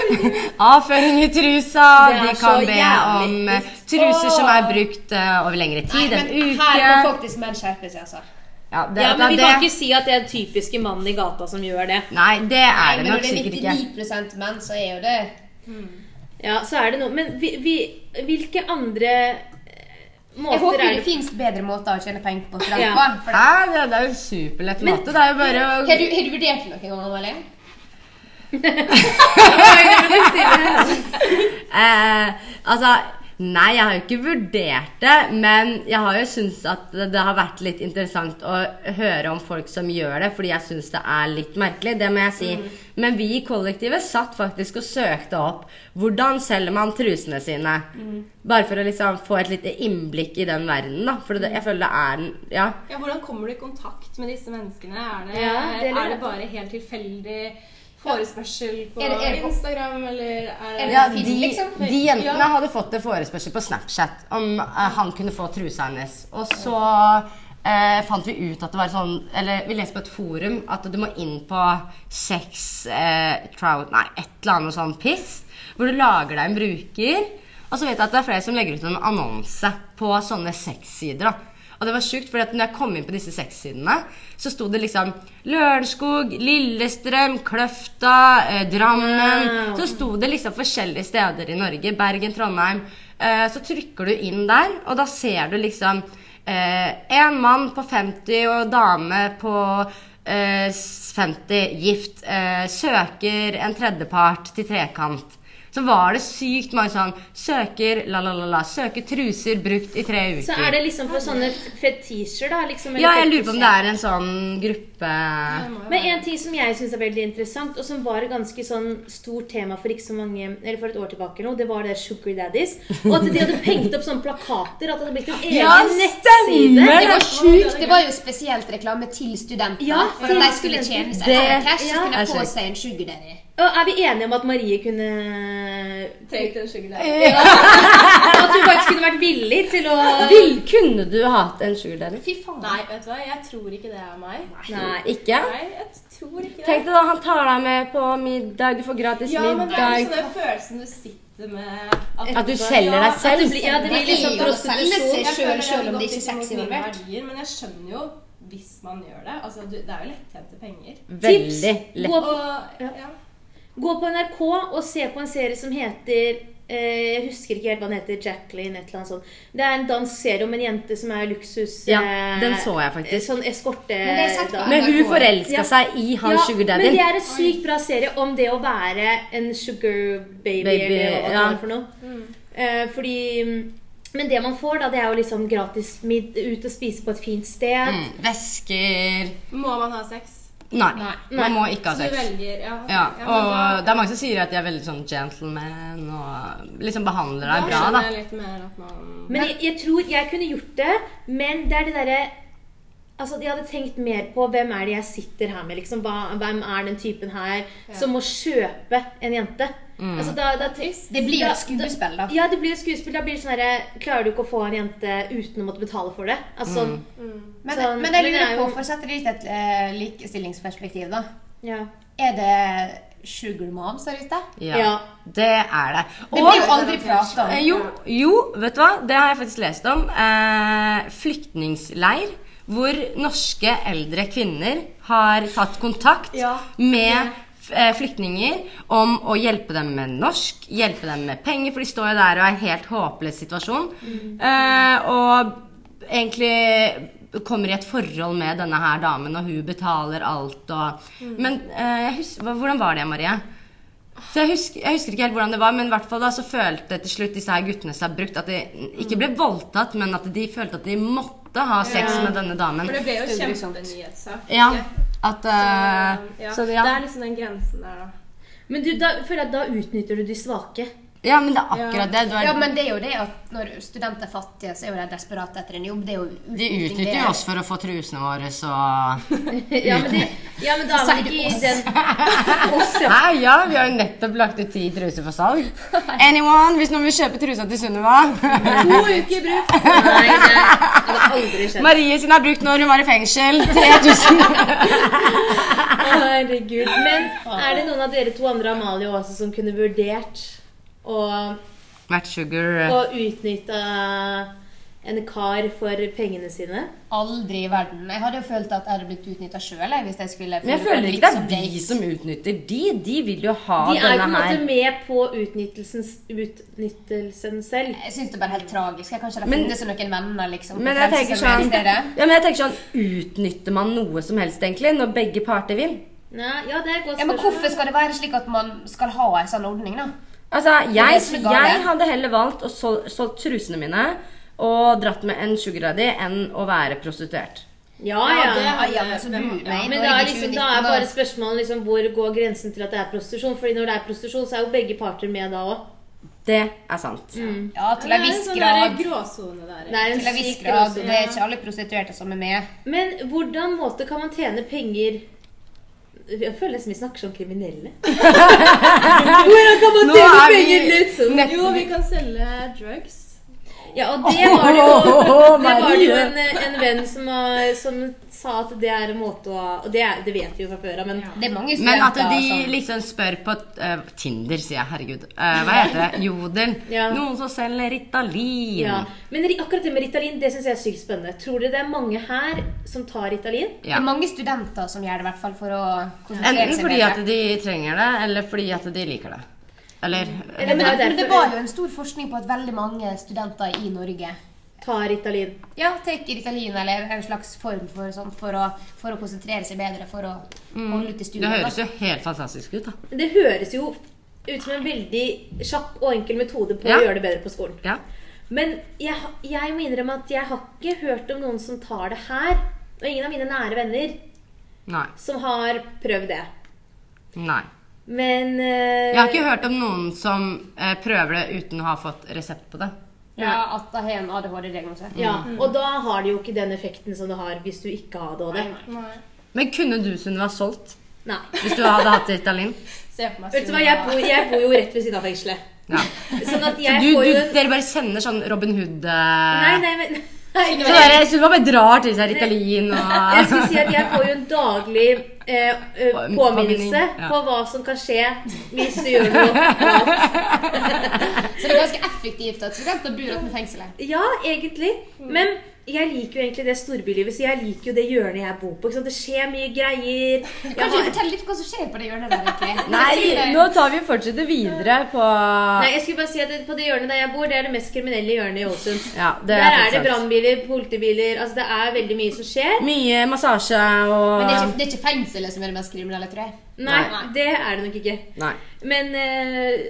Speaker 3: Avføring i trusa,
Speaker 1: Det er
Speaker 3: de
Speaker 1: så
Speaker 3: kan be
Speaker 1: jævlig
Speaker 3: om eh, truser som er brukt eh, over lengre
Speaker 2: Nei,
Speaker 3: tid, en
Speaker 2: men
Speaker 3: uke
Speaker 2: her må faktisk menn skjerpe seg, altså.
Speaker 3: ja, det,
Speaker 1: Ja,
Speaker 3: det er
Speaker 1: men Vi
Speaker 3: det.
Speaker 1: kan ikke si at det er den typiske mannen i gata som gjør det.
Speaker 3: Nei, det er
Speaker 2: Nei,
Speaker 3: det
Speaker 2: men når
Speaker 3: nok
Speaker 2: det er
Speaker 3: sikkert ikke.
Speaker 2: 99 menn, så er jo det
Speaker 1: Ja, så er det noe. Men vi, vi, hvilke andre eh,
Speaker 2: Jeg
Speaker 1: måter
Speaker 2: håper
Speaker 1: er
Speaker 2: det
Speaker 1: det
Speaker 2: finnes bedre måter å tjene penger på
Speaker 1: Ja.
Speaker 2: studentbarn. for det-
Speaker 3: Hæ? Det, det er jo en superlett måte. Det er jo bare å
Speaker 2: Har du, har du vurdert det noen gang, Amalie?
Speaker 3: Eh, altså, nei, jeg har jo ikke vurdert det, men jeg har jo syntes at det det har vært litt interessant å høre om folk som gjør det, fordi jeg syns det er litt merkelig, det må jeg si. Men vi i kollektivet satt faktisk og søkte opp hvordan selger man trusene sine? Bare for å liksom få et lite innblikk i den verdenen, da. For det, jeg føler det er den Ja.
Speaker 4: Ja, Hvordan kommer du i kontakt med disse menneskene? Er det,
Speaker 1: Ja, det lurer jeg
Speaker 4: er det
Speaker 1: på.
Speaker 4: bare helt tilfeldig forespørsel på
Speaker 2: Er det- er det på-
Speaker 4: Instagram, eller er det,
Speaker 2: Er det
Speaker 3: Ja, de,
Speaker 2: Finn, liksom.
Speaker 3: de jentene hadde fått en forespørsel på Snapchat om eh, han kunne få trusa hennes. Og så eh, fant vi ut at det var sånn Eller vi leste på et forum at du må inn på sex eh, trout, Nei, et eller annet sånn piss. Hvor du lager deg en bruker. Og så vet jeg at det er flere som legger ut en annonse på sånne sexsider. da. Og det var sjukt, for når jeg kom inn på disse sexsidene, så sto det liksom Lørenskog, Lillestrøm, Kløfta, eh, Drammen Så sto det liksom forskjellige steder i Norge. Bergen, Trondheim. Eh, så trykker du inn der, og da ser du liksom eh, En mann på 50 og dame på eh, 50, gift, eh, søker en tredjepart til trekant. Så var det sykt mange sånn Søker la, la, la, la. Søker truser brukt i tre uker.
Speaker 1: Så er det liksom for sånne fetisjer, da? Liksom, eller
Speaker 3: Ja, jeg lurer på om det
Speaker 1: fetisjer.
Speaker 3: er en sånn gruppe
Speaker 1: Men en ting som jeg syns er veldig interessant, og som var et ganske sånn stort tema for ikke så mange, eller for et år tilbake, nå, det var det Sugar Daddies. Og at de hadde pengt opp sånne plakater. At det hadde blitt en egen nettside.
Speaker 2: Det var sjukt. Det var jo spesielt reklame til studenter.
Speaker 1: Ja,
Speaker 2: for
Speaker 1: til
Speaker 2: at de skulle
Speaker 1: studenter.
Speaker 2: tjene seg
Speaker 3: Det-
Speaker 2: det, cash,
Speaker 1: ja,
Speaker 2: så kunne
Speaker 3: er
Speaker 2: de få
Speaker 3: sjukt.
Speaker 2: seg en sugar daddy.
Speaker 1: Og er vi enige om at Marie kunne
Speaker 4: trengt en sugar daddy?
Speaker 1: At hun faktisk kunne vært villig til å
Speaker 3: Vil, Kunne du hatt en sugar daddy?
Speaker 2: Fy faen.
Speaker 4: Nei, vet du hva, jeg tror ikke det er meg.
Speaker 1: Nei.
Speaker 3: Ikke?
Speaker 4: Nei, jeg tror ikke det.
Speaker 3: Tenk deg da, han tar deg med på middag, du får gratis
Speaker 4: ja, men det er
Speaker 3: middag
Speaker 4: liksom den følelsen du sitter med
Speaker 3: At du selger deg selv?
Speaker 1: blir- ja, det
Speaker 2: Det
Speaker 1: blir
Speaker 2: er
Speaker 1: liksom
Speaker 2: jo å selge
Speaker 1: prostitusjon.
Speaker 2: seg
Speaker 4: Jeg føler
Speaker 2: selv,
Speaker 4: jeg
Speaker 2: selv om det ikke
Speaker 4: har
Speaker 2: er
Speaker 4: gått litt
Speaker 2: sex
Speaker 4: imot mine
Speaker 2: involvert.
Speaker 4: verdier, Men jeg skjønner jo hvis man gjør det. Altså, du, det er jo lettjente penger.
Speaker 3: Veldig lett.
Speaker 1: Gå på,
Speaker 4: Og ja.
Speaker 1: gå på NRK og se på en serie som heter eh, Jeg husker ikke helt hva den heter. Jacqueline, et eller annet sånt. Det er en dansk serie om en jente som er luksus...
Speaker 3: Ja,
Speaker 1: eh,
Speaker 3: den så jeg faktisk.
Speaker 1: Sånn eskorte...
Speaker 2: Men det er sett på
Speaker 1: dame.
Speaker 3: Men hun forelska
Speaker 1: Ja.
Speaker 3: seg i han
Speaker 1: Ja,
Speaker 3: sugar
Speaker 1: Men det
Speaker 3: daddy.
Speaker 1: er en sykt bra serie om det å være en sugar baby,
Speaker 3: Baby,
Speaker 1: eller hva det
Speaker 3: ja.
Speaker 1: er for noe. Eh, fordi Men det man får, da, det er jo liksom gratis mid ut og spise på et fint sted.
Speaker 3: Mm, Væsker
Speaker 4: Må man ha sex?
Speaker 3: Nei,
Speaker 1: Nei.
Speaker 3: man må ikke ha
Speaker 4: Så du
Speaker 3: sex.
Speaker 4: velger Ja.
Speaker 3: Ja,
Speaker 4: men
Speaker 3: og
Speaker 4: da-
Speaker 3: det er mange som sier at de er veldig sånn gentleman og liksom behandler
Speaker 4: da
Speaker 3: deg bra, da.
Speaker 4: skjønner jeg litt mer at man
Speaker 1: Men jeg, jeg tror jeg kunne gjort det, men det er det derre Altså, Jeg hadde tenkt mer på hvem er det jeg sitter her med. liksom. Hva, hvem er den typen her som må kjøpe en jente?
Speaker 3: Mm.
Speaker 1: Altså, da, da,
Speaker 2: Det blir jo
Speaker 1: da-
Speaker 2: et skuespill, da.
Speaker 1: Ja, det blir jo skuespill. Da blir det sånn herre Klarer du ikke å få en jente uten å måtte betale for det? Altså,
Speaker 3: Mm.
Speaker 1: Sånn,
Speaker 2: Men, men jeg
Speaker 1: men det
Speaker 2: lurer
Speaker 1: er
Speaker 2: på,
Speaker 1: jo-
Speaker 2: for å sette det litt i et eh, likestillingsperspektiv, da.
Speaker 1: ja.
Speaker 2: Er det sugar moms der ute?
Speaker 3: Ja,
Speaker 1: Ja.
Speaker 3: det er det.
Speaker 2: Det blir jo aldri prata
Speaker 4: sånn.
Speaker 2: om.
Speaker 3: Eh, Jo, jo, vet du hva? Det har jeg faktisk lest om. Eh, flyktningleir. Hvor norske eldre kvinner har tatt kontakt
Speaker 4: Ja.
Speaker 3: med f- eh, flyktninger om å hjelpe dem med norsk, hjelpe dem med penger, for de står jo der og er i en helt håpløs situasjon.
Speaker 4: Mm.
Speaker 3: Eh, og egentlig kommer i et forhold med denne her damen, og hun betaler alt og
Speaker 4: Mm.
Speaker 3: Men eh, jeg hus- hva- hvordan var det, Marie? Så jeg husker, jeg husker ikke helt hvordan det var, men i hvert fall da så følte til slutt disse her guttene seg brukt. At de ikke ble voldtatt, men at de følte at de måtte ha sex med denne damen.
Speaker 4: For det ble jo
Speaker 2: Grusomt.
Speaker 4: kjempenyhetssak.
Speaker 3: Ja, at eh,
Speaker 4: Ja.
Speaker 3: Så det-
Speaker 4: Det
Speaker 3: ja.
Speaker 4: er liksom den grensen der, da.
Speaker 1: Men du, da føler jeg at da utnytter du de svake.
Speaker 3: ja, men det er akkurat det. Du
Speaker 2: Ja,
Speaker 3: er,
Speaker 2: men det er jo det at når studenter er fattige, så er jo de desperate etter en jobb. Det er jo
Speaker 3: de
Speaker 2: utnytting,
Speaker 3: utnytter
Speaker 2: det
Speaker 3: jo
Speaker 2: er-
Speaker 3: oss for å få trusene våre, så
Speaker 1: Ja, men, det, ja, men da er man
Speaker 2: Sier du
Speaker 1: ikke i
Speaker 2: oss?
Speaker 1: den
Speaker 3: Hæ, ja, vi har jo nettopp lagt ut ti truser for salg. Anyone, hvis noen vil kjøpe trusa til Sunniva
Speaker 4: To uker i bruk!
Speaker 1: Nei, det hadde aldri skjedd.
Speaker 3: Marie sin har brukt når hun var i fengsel. 3000.
Speaker 1: Herregud. Men er det noen av dere to andre, Amalie og Åse, som kunne vurdert å,
Speaker 3: Matt Sugar.
Speaker 1: å utnytte en kar for pengene sine?
Speaker 2: Aldri i verden. Jeg hadde jo følt at jeg hadde blitt utnytta sjøl hvis jeg skulle
Speaker 3: Men jeg
Speaker 2: funnet
Speaker 3: føler
Speaker 2: på
Speaker 3: ikke det er
Speaker 2: liksom
Speaker 3: de
Speaker 2: date.
Speaker 3: som utnytter de. De vil jo ha
Speaker 1: De er jo på
Speaker 3: denne
Speaker 1: en måte
Speaker 3: her.
Speaker 1: med på utnyttelsen, utnyttelsen selv.
Speaker 2: Jeg syns det er bare helt tragisk. Jeg kan ikke
Speaker 3: Men-
Speaker 2: finne seg noen venner liksom.
Speaker 3: Men
Speaker 2: på
Speaker 3: jeg tenker sånn,
Speaker 2: frelsesarbeidstedet.
Speaker 3: ja, men jeg tenker sånn Utnytter man noe som helst, egentlig, når begge parter vil?
Speaker 1: Nei, ja, det er et godt
Speaker 2: Ja, men
Speaker 1: spørsmål.
Speaker 2: hvorfor skal det være slik at man skal ha en sånn ordning, da?
Speaker 3: Altså,
Speaker 2: det
Speaker 3: jeg,
Speaker 2: som er galt,
Speaker 3: jeg
Speaker 2: det.
Speaker 3: hadde heller valgt å sol, solgt trusene mine og dratt med en sugar daddy enn å være prostituert.
Speaker 1: Ja,
Speaker 2: Ja, det
Speaker 1: ja.
Speaker 2: har jeg altså
Speaker 4: Hvem-
Speaker 2: buet meg i
Speaker 1: Men da
Speaker 2: Norge
Speaker 1: er, liksom,
Speaker 2: 2019,
Speaker 1: da er
Speaker 2: da.
Speaker 1: bare spørsmålet liksom, hvor går grensen til at det er prostitusjon? Fordi når det er prostitusjon, så er jo begge parter med da òg.
Speaker 3: Det er sant.
Speaker 2: Ja, til en viss
Speaker 4: sånn der
Speaker 2: grad.
Speaker 4: gråsone der.
Speaker 1: Det er en
Speaker 2: Til en viss
Speaker 1: syk
Speaker 2: grad.
Speaker 1: gråsone.
Speaker 2: Det er ikke alle prostituerte som er med.
Speaker 1: Men hvordan måte kan man tjene penger Jeg føler nesten vi snakker som kriminelle. hvordan kan man
Speaker 3: Nå
Speaker 1: tjene
Speaker 3: er vi
Speaker 1: penger litt sånn?
Speaker 3: nett-
Speaker 4: Jo, vi kan selge drugs.
Speaker 1: Ja, og det var det jo,
Speaker 3: Åh,
Speaker 1: det var det jo
Speaker 3: Marie.
Speaker 1: en, en venn som, har- som sa at det er en måte å Og det, er- det vet vi jo fra før av, men
Speaker 2: Det er mange
Speaker 3: Men at
Speaker 2: studenter
Speaker 3: de
Speaker 2: som
Speaker 3: liksom spør på eh, Tinder, sier jeg. Herregud. Eh, hva heter det? Jodel.
Speaker 1: Ja.
Speaker 3: Noen som selger Ritalin.
Speaker 1: ja. Men ri- akkurat det med Ritalin det syns jeg er sykt spennende. Tror dere det er mange her som tar Ritalin?
Speaker 2: Det er mange studenter som gjør det, i hvert fall for å konsentrere
Speaker 3: Enten
Speaker 2: seg
Speaker 3: fordi
Speaker 2: bedre.
Speaker 3: at de trenger det, eller fordi at de liker det. Eller
Speaker 1: Eller
Speaker 2: Men
Speaker 1: det er
Speaker 2: det, men det
Speaker 1: derfor-
Speaker 2: var jo en stor forskning på at veldig mange studenter i Norge
Speaker 1: Tar Ritalin.
Speaker 2: ja, tar Ritalin eller en slags form for sånn for å, for å konsentrere seg bedre, for å holde ut
Speaker 3: Mm.
Speaker 2: i
Speaker 3: Det høres
Speaker 2: studiet.
Speaker 3: jo helt fantastisk ut, da.
Speaker 1: Det høres jo ut som en veldig kjapp og enkel metode på
Speaker 3: Ja.
Speaker 1: å gjøre det bedre på skolen.
Speaker 3: Ja.
Speaker 1: Men jeg, ha- jeg må innrømme at jeg har ikke hørt om noen som tar det her. Og ingen av mine nære venner
Speaker 3: Nei.
Speaker 1: som har prøvd det.
Speaker 3: Nei.
Speaker 1: Men eh,
Speaker 3: Jeg har ikke hørt om noen som eh, prøver det uten å ha fått resept på det.
Speaker 2: Ja, at de har en ADHD-diagnose.
Speaker 1: ja, Og da har det jo ikke den effekten som det har hvis du ikke har ADHD.
Speaker 4: Nei.
Speaker 3: Men kunne du, Sunniva, solgt
Speaker 1: Nei.
Speaker 3: hvis du hadde hatt Ritalin?
Speaker 4: Se for meg
Speaker 1: Vet du hva, jeg bor, jeg bor jo rett ved siden av fengselet.
Speaker 3: Ja.
Speaker 1: Sånn at
Speaker 3: Så
Speaker 1: jeg
Speaker 3: du,
Speaker 1: får
Speaker 3: du,
Speaker 1: jo en
Speaker 3: dere bare sender sånn Robin Hood eh,
Speaker 1: Nei, nei, men nei,
Speaker 3: Så dere, Sunniva bare drar til seg Ritalin
Speaker 1: Jeg
Speaker 3: og
Speaker 1: skulle si at jeg får jo en daglig eh, eh,
Speaker 3: Påminning,
Speaker 1: påminnelse
Speaker 3: ja.
Speaker 1: på hva som kan skje hvis du gjør noe galt.
Speaker 2: Så det er ganske effektivt at studenter bor utenfor fengselet.
Speaker 1: Ja, egentlig. Men jeg liker jo egentlig det storbylivet, så jeg liker jo det hjørnet jeg bor på. Ikke sant? Det skjer mye greier. Jeg
Speaker 2: Kan du
Speaker 1: har...
Speaker 2: fortelle litt hva som skjer på det hjørnet der, egentlig?
Speaker 3: Nei, nå tar vi og fortsetter videre på
Speaker 1: Nei, jeg skulle bare si at det- På det hjørnet der jeg bor, det er det mest kriminelle hjørnet i Ålesund.
Speaker 3: Ja, det
Speaker 1: Der er det
Speaker 3: faktisk sant. Mm.
Speaker 1: brannbiler, politibiler altså Det er veldig mye som skjer.
Speaker 3: Mye massasje og
Speaker 2: Men det er, ikke, det er ikke fengselet som er det mest kriminelle, tror jeg.
Speaker 1: Nei,
Speaker 2: Nei.
Speaker 1: det er det nok ikke.
Speaker 3: Nei.
Speaker 1: Men eh,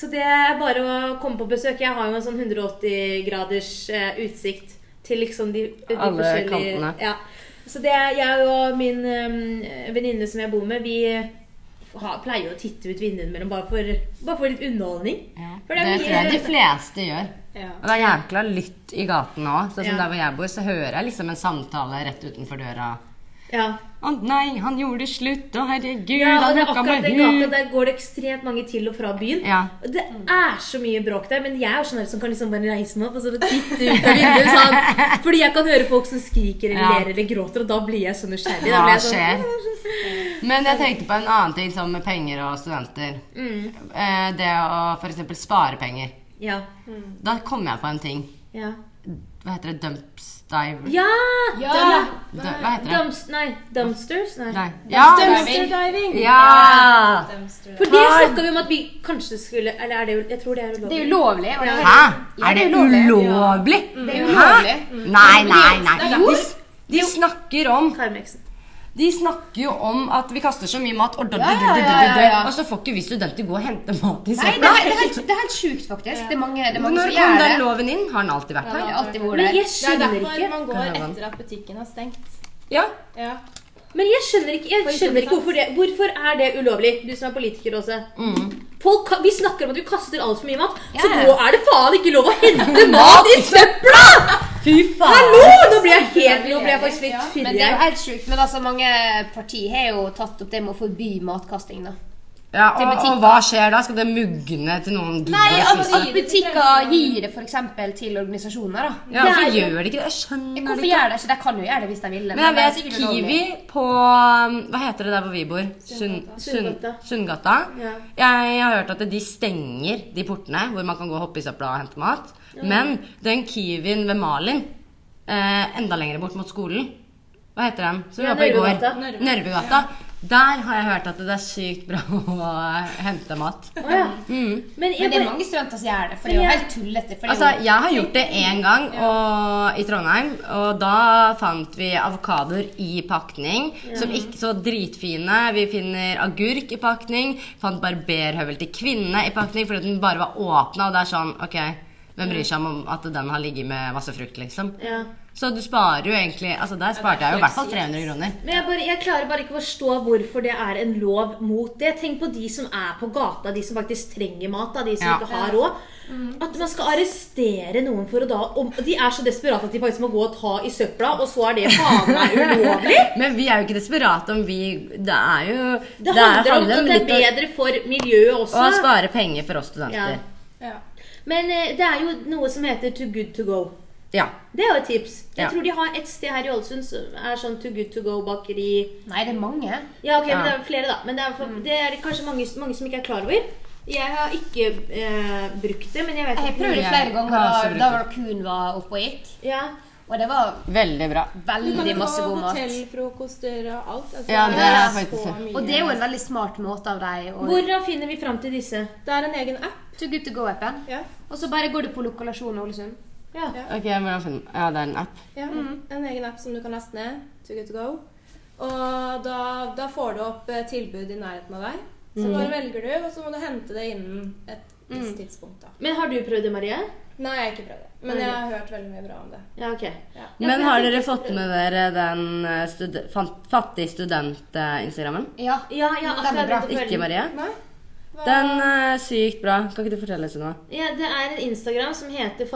Speaker 1: Så det er bare å komme på besøk. Jeg har jo en sånn 180 graders eh, utsikt til liksom de, de
Speaker 3: Alle
Speaker 1: forskjellige-
Speaker 3: kantene.
Speaker 1: Ja. Så det er jeg og min eh, venninne som jeg bor med, vi har, pleier å titte ut vinduene mellom bare for, bare for litt underholdning. For det
Speaker 3: Det
Speaker 1: er mye-
Speaker 3: tror jeg de fleste gjør.
Speaker 4: Ja.
Speaker 3: Og det er jækla lytt i gaten òg. Sånn som
Speaker 1: Ja.
Speaker 3: der hvor jeg bor, så hører jeg liksom en samtale rett utenfor døra.
Speaker 1: Ja.
Speaker 3: Å nei, han gjorde det slutt, å herregud,
Speaker 1: ja, og
Speaker 3: han
Speaker 1: det er
Speaker 3: hooka
Speaker 1: akkurat
Speaker 3: med
Speaker 1: den gata
Speaker 3: hun.
Speaker 1: der går det ekstremt mange til og fra byen.
Speaker 3: Ja.
Speaker 1: Og Det er så mye bråk der, men jeg er jo sånn der som kan liksom bare reise meg opp og så titte ut av vinduet. Sånn. Fordi jeg kan høre folk som skriker eller
Speaker 3: Ja.
Speaker 1: ler eller gråter, og da blir jeg så nysgjerrig. Da
Speaker 3: Hva
Speaker 1: blir jeg
Speaker 3: skjer?
Speaker 1: sånn,
Speaker 3: Men jeg tenkte på en annen ting som med penger og studenter.
Speaker 2: Mm.
Speaker 3: Eh, Det å f.eks. spare penger.
Speaker 1: Ja.
Speaker 3: Da kom jeg på en ting.
Speaker 1: Ja.
Speaker 3: Hva heter det? Dumpstive?
Speaker 1: ja!
Speaker 2: Ja!
Speaker 3: Dø- Hva heter det?
Speaker 1: Dumps, nei, dumpsters? Nei.
Speaker 3: Nei. Ja!
Speaker 4: Dumpster diving.
Speaker 3: ja.
Speaker 4: Dumpster.
Speaker 1: For det snakka vi om at vi kanskje skulle Eller er det jo Jeg tror det er
Speaker 2: Det
Speaker 1: ulovlig.
Speaker 2: er ulovlig. og det er-
Speaker 3: Hæ?
Speaker 2: Ja,
Speaker 3: Er det
Speaker 2: det er ulovlig. Mm.
Speaker 3: ulovlig?
Speaker 2: Det er ulovlig. Mm.
Speaker 3: Hæ? Nei, nei, nei.
Speaker 2: Det er
Speaker 3: De,
Speaker 2: jo-
Speaker 3: de snakker om
Speaker 1: Karmeksen.
Speaker 3: De snakker jo om at vi kaster så mye mat, og, død,
Speaker 2: Ja,
Speaker 3: død,
Speaker 2: ja,
Speaker 3: død,
Speaker 2: ja, ja,
Speaker 3: død, død,
Speaker 2: ja.
Speaker 3: og så får ikke vi studenter gå og hente mat i
Speaker 2: Nei, det
Speaker 3: søpla.
Speaker 2: er, det er helt, det er helt sjukt, faktisk. Det er mange, det er mange
Speaker 3: Når
Speaker 2: som
Speaker 3: kom
Speaker 2: gjør
Speaker 3: den
Speaker 2: det.
Speaker 3: loven inn? Har den alltid vært
Speaker 2: Det
Speaker 3: her?
Speaker 2: har alltid vært
Speaker 1: Men
Speaker 2: der.
Speaker 1: jeg
Speaker 4: Det er
Speaker 1: skjønner
Speaker 4: derfor
Speaker 1: ikke
Speaker 3: Kan
Speaker 4: man
Speaker 3: jeg
Speaker 4: går
Speaker 3: ha
Speaker 4: etter at butikken har stengt.
Speaker 3: Ja.
Speaker 4: Ja.
Speaker 1: Men jeg skjønner ikke, jeg skjønner ikke hvorfor, det, hvorfor er det ulovlig, du som er politiker også. Folk, ka- vi snakker om at vi kaster altfor mye mat, så
Speaker 2: Mm. Ja.
Speaker 1: nå er det faen ikke lov å hente mat i søpla!
Speaker 3: Fy faen.
Speaker 1: Hallo! Nå blir jeg helt, nå blir jeg faktisk litt
Speaker 2: Men det er jo
Speaker 1: fyrig.
Speaker 2: helt sjukt. Men altså, mange partier har jo tatt opp det med å forby matkasting, da.
Speaker 3: Ja,
Speaker 2: Til
Speaker 3: og,
Speaker 2: butikken.
Speaker 3: og hva skjer da? Skal det mugne til noen
Speaker 2: Nei, altså,
Speaker 3: gidder å
Speaker 2: at,
Speaker 3: spise?
Speaker 2: at butikker gir det f.eks. til organisasjoner, da.
Speaker 3: Ja, hvorfor
Speaker 1: det er jo-
Speaker 3: gjør de ikke det? Jeg skjønner
Speaker 2: Hvorfor
Speaker 3: det ikke.
Speaker 2: gjør de ikke det? De kan jo gjøre det hvis de ville.
Speaker 3: Men jeg
Speaker 2: det er
Speaker 3: vet
Speaker 2: sikkert
Speaker 3: Kiwi
Speaker 2: ulovlig.
Speaker 3: på um, Hva heter det der hvor vi bor? Sund- Sund-
Speaker 1: Sundgata.
Speaker 3: Sundgata.
Speaker 1: Ja.
Speaker 3: Jeg har hørt at de stenger de portene hvor man kan gå og hoppe i søpla og hente mat. Men den Kiwien ved Malin, eh, enda lenger bort mot skolen Hva heter den? Som vi
Speaker 1: Ja,
Speaker 3: var på i går.
Speaker 1: Nørvegata.
Speaker 3: Nørvegata. Der har jeg hørt at det er sykt bra å hente mat.
Speaker 1: Å ja.
Speaker 3: Mm.
Speaker 1: Men
Speaker 2: Men
Speaker 1: jeg
Speaker 2: det er
Speaker 1: bare
Speaker 2: mange studenter som gjør det, for det er jo
Speaker 1: Ja.
Speaker 2: helt tullete. For det
Speaker 3: Altså,
Speaker 2: er jo
Speaker 3: jeg har gjort det én gang og, i Trondheim, og da fant vi avokadoer i pakning. Som ikke så dritfine. Vi finner agurk i pakning. Fant barberhøvel til kvinne i pakning fordi den bare var åpna, og det er sånn Ok, hvem bryr seg om at den har ligget med masse frukt, liksom?
Speaker 1: ja.
Speaker 3: Så du sparer jo egentlig Altså, der sparte jeg jo i hvert fall 300 kroner.
Speaker 1: Men jeg, bare, jeg klarer bare ikke å forstå hvorfor det er en lov mot det. Tenk på de som er på gata, de som faktisk trenger mat, da, de som
Speaker 3: Ja.
Speaker 1: ikke har råd.
Speaker 2: Mm.
Speaker 1: At man skal arrestere noen for å da om, De er så desperate at de faktisk må gå og ta i søpla, og så er det faen meg ulovlig!
Speaker 3: Men vi er jo ikke desperate om vi Det er jo
Speaker 1: Det handler om
Speaker 3: handler
Speaker 1: at det er
Speaker 3: litt om-
Speaker 1: bedre altså. for miljøet også.
Speaker 3: å spare penger for oss studenter.
Speaker 4: Ja.
Speaker 1: Men eh, det er jo noe som heter Too good to go.
Speaker 3: Ja.
Speaker 1: Det er jo et tips. Jeg
Speaker 3: Ja.
Speaker 1: tror de har et sted her i Ålesund som er sånn Too good to go-bakeri.
Speaker 2: Nei, det er mange.
Speaker 1: Ja, ok,
Speaker 3: Ja. Mm.
Speaker 1: men det er flere, da. Men det er, for, det er det kanskje mange, mange som ikke er klar over. Jeg har ikke eh, brukt det, men jeg vet
Speaker 2: Jeg har
Speaker 1: ikke.
Speaker 2: prøvd det flere ganger
Speaker 3: Ja, så
Speaker 2: da,
Speaker 3: bruker
Speaker 2: da
Speaker 3: jeg.
Speaker 2: Raccoon var oppe og gikk,
Speaker 1: Ja.
Speaker 2: og det var
Speaker 3: Veldig bra.
Speaker 4: Du kan
Speaker 2: veldig
Speaker 4: jo
Speaker 2: Mm, masse
Speaker 4: få
Speaker 2: god mat.
Speaker 4: hotellfrokoster og alt. Altså,
Speaker 3: Ja, det
Speaker 2: er
Speaker 3: faktisk
Speaker 4: så
Speaker 3: sant.
Speaker 4: mye.
Speaker 2: Og det er jo en veldig smart måte av deg å
Speaker 1: Hvordan finner vi fram til disse?
Speaker 4: Det er en egen app.
Speaker 2: To good to go-appen.
Speaker 4: Ja.
Speaker 2: Og så bare går du på lokalasjon Ålesund.
Speaker 1: Ja.
Speaker 4: Ja. Mm.
Speaker 3: Ok, hvordan finner Ja, det er en app.
Speaker 4: Ja, En egen app som du kan laste ned. To good to go. Og da, da får du opp eh, tilbud i nærheten av deg. Så
Speaker 2: Mm.
Speaker 4: bare velger du, og så må du hente det innen et visst tidspunkt. da.
Speaker 1: Men har du prøvd det, Marie?
Speaker 4: Nei, jeg har ikke prøvd det, men jeg har hørt veldig mye bra om det.
Speaker 1: Ja, ok.
Speaker 4: Ja.
Speaker 3: Men har dere fått med dere den eh, stud fant- fattig student-instagrammen?
Speaker 2: Ja.
Speaker 1: Ja, ja,
Speaker 2: Den er bra.
Speaker 1: akkurat
Speaker 3: Ikke Marie?
Speaker 4: Nei? Hva-
Speaker 3: Den er sykt bra. Kan ikke du fortelle oss noe?
Speaker 1: Ja, det er en Instagram som heter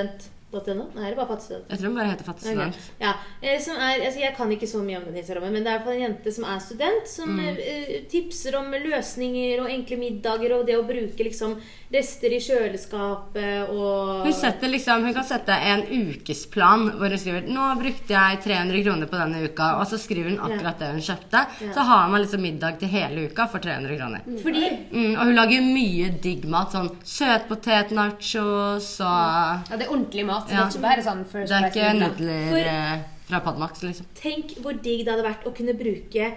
Speaker 1: fattigstudent.no. Nei, det er bare fattigstudent.
Speaker 3: Jeg tror den bare heter fattig
Speaker 1: Ok,
Speaker 3: student.
Speaker 1: Ja, eh, som er, altså jeg kan ikke så mye om den Instagrammen, men det er i hvert fall en jente som er student, som eh, tipser om løsninger og enkle middager og det å bruke liksom rester i kjøleskapet og
Speaker 3: Hun, setter liksom, hun kan sette en ukesplan hvor hun skriver Nå brukte jeg 300 kroner på denne uka, og så skriver hun akkurat det hun kjøpte. Så har man liksom middag til hele uka for 300 kroner.
Speaker 1: Fordi
Speaker 3: Mm, og hun lager mye digg mat. Sånn søtpotet, nachos og
Speaker 2: Ja, det er ordentlig mat. mat.
Speaker 3: Ja.
Speaker 2: Det er ikke bare sånn first
Speaker 3: Det er ikke
Speaker 2: class-middag.
Speaker 3: nudler
Speaker 1: For-
Speaker 3: eh, fra Padmax, liksom.
Speaker 1: Tenk hvor digg det hadde vært å kunne bruke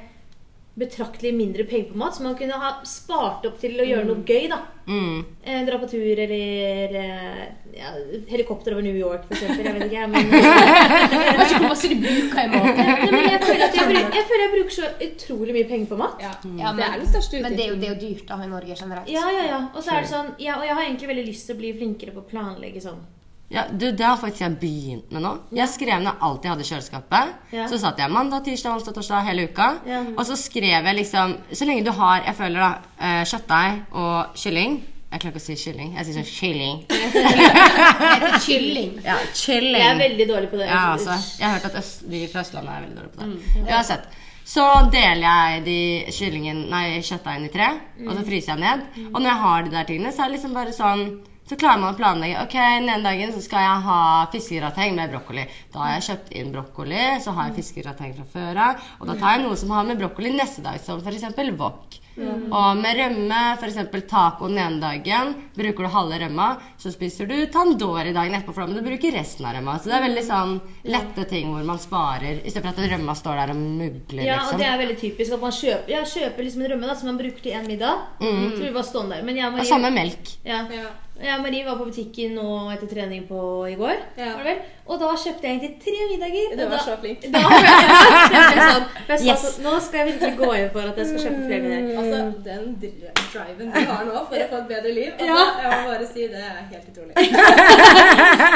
Speaker 1: betraktelig mindre penger på mat, som man kunne ha spart opp til å gjøre noe gøy, da.
Speaker 3: Mm.
Speaker 1: Eh, dra på tur eller eh, ja, helikopter over New York, for eksempel. Jeg vet ikke, jeg, men
Speaker 2: Jeg vet ikke hvor mye de bruker i måneden.
Speaker 1: Nei, men jeg føler at jeg, bruk, jeg, føler jeg bruker så utrolig mye penger på mat.
Speaker 4: Ja.
Speaker 2: Ja,
Speaker 4: Det er den største
Speaker 2: men det er, jo,
Speaker 4: utgiften.
Speaker 2: det er jo dyrt da i Norge generelt.
Speaker 1: Ja, ja, ja. Og så er det sånn, ja, og jeg har egentlig veldig lyst til å bli flinkere på å planlegge sånn.
Speaker 3: Ja, du, Det har faktisk jeg begynt med nå. Jeg skrev ned alt jeg hadde i kjøleskapet.
Speaker 1: Ja.
Speaker 3: Så satt jeg mandag, tirsdag, onsdag, torsdag hele uka.
Speaker 1: Ja.
Speaker 3: Og så skrev jeg liksom Så lenge du har jeg føler da, eh, kjøttdeig og kylling Jeg klarer ikke å si kylling. Jeg sier sånn kylling.
Speaker 2: Det er Kylling.
Speaker 3: Ja, kylling.
Speaker 1: Jeg er Mm. veldig dårlig på det.
Speaker 3: Ja, altså, jeg har hørt at øst, de fra Østlandet er veldig dårlige på det. Uansett. Så deler jeg de kyllingen, nei, kjøttdeigene i tre, og
Speaker 1: Mm.
Speaker 3: så fryser jeg ned. Og når jeg har de der tingene, så er det liksom bare sånn så klarer man å planlegge. ok, Den ene dagen så skal jeg ha fiskegrateng med brokkoli. Da har jeg kjøpt inn brokkoli, så har
Speaker 1: Mm.
Speaker 3: jeg fiskegrateng fra før av. Og da tar jeg noe som har med brokkoli neste dag, som f.eks. wok.
Speaker 1: Mm.
Speaker 3: Og med rømme, f.eks. taco den ene dagen, bruker du halve rømma, så spiser du tandori dagen etterpå, for da må du bruke resten av rømma. Så det er veldig sånn lette ting hvor man sparer, istedenfor at rømma står der og mugler,
Speaker 1: Ja, og
Speaker 3: liksom.
Speaker 1: det er veldig typisk at man kjøper, ja, kjøper liksom en rømme da, som man bruker til en middag. Så blir det bare stående der. Men jeg og
Speaker 3: Og
Speaker 1: Marie,
Speaker 3: Mm. samme melk.
Speaker 1: ja.
Speaker 4: Ja.
Speaker 1: Jeg og Marie var på butikken nå etter trening på i går.
Speaker 4: Ja.
Speaker 1: Var det vel? Og da kjøpte jeg egentlig tre middager.
Speaker 4: Du
Speaker 1: og
Speaker 4: var
Speaker 1: da,
Speaker 4: så flink.
Speaker 1: da ble jeg, jeg ble sånn, for jeg sa
Speaker 3: Yes.
Speaker 1: sånn, Nå skal jeg virkelig gå inn for at jeg skal kjøpe flere middager.
Speaker 4: Altså, den dri- driven du har nå for å få et bedre liv, altså,
Speaker 1: Ja.
Speaker 4: jeg må bare si det er helt utrolig.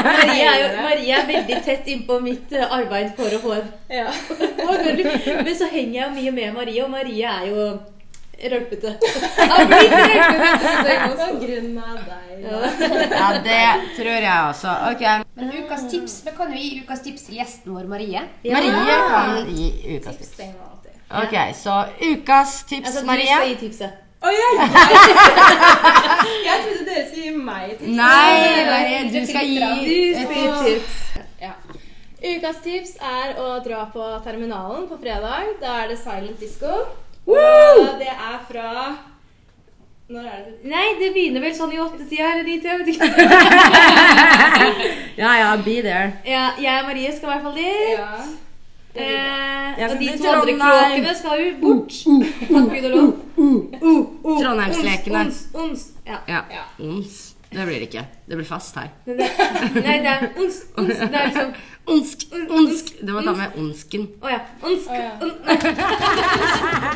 Speaker 1: Marie er, jo, Marie er veldig tett innpå mitt eh, arbeid for å få en
Speaker 4: Ja.
Speaker 1: Men så henger jeg mye med Marie, og Marie er jo rølpete. Av blitt rølpete.
Speaker 4: Det er også grunn av deg. da.
Speaker 3: Ja, det tror jeg også. Ok.
Speaker 2: Men ukas tips, vi kan jo gi ukas tips til gjesten vår, Marie.
Speaker 3: Marie kan gi ukas tips.
Speaker 4: Stenger meg alltid.
Speaker 3: Ok, så ukas tips,
Speaker 1: Altså, du
Speaker 3: Marie.
Speaker 1: skal gi tipset.
Speaker 4: Å ja, jeg, jeg trodde dere skulle gi meg tips.
Speaker 3: Nei, Marie, du skal gi et tips.
Speaker 4: Ja. Ukas tips er å dra på Terminalen på fredag. Da er det silent disco. Og det er fra Når er det?
Speaker 1: Nei, det begynner vel sånn i åttetida eller nitida. jeg vet ikke.
Speaker 3: Ja, ja, be there.
Speaker 1: Ja, jeg og Marie skal i hvert fall dit.
Speaker 4: Ja.
Speaker 1: Eh, og
Speaker 3: Jeg
Speaker 1: de
Speaker 3: skal bli
Speaker 1: to andre
Speaker 3: Trondheim.
Speaker 1: kråkene skal jo bort. Takk gud og lov.
Speaker 3: Trondheimslekene.
Speaker 1: Ons, ons. Ja.
Speaker 3: Ja. Ons. Det blir det ikke. Det blir fast her.
Speaker 1: Men det- Nei, det er ons, ons. Det er liksom
Speaker 3: Onsk, onsk. Du må ta med onsken.
Speaker 1: Å ja. Ons.
Speaker 4: Å ja.
Speaker 1: on- nei.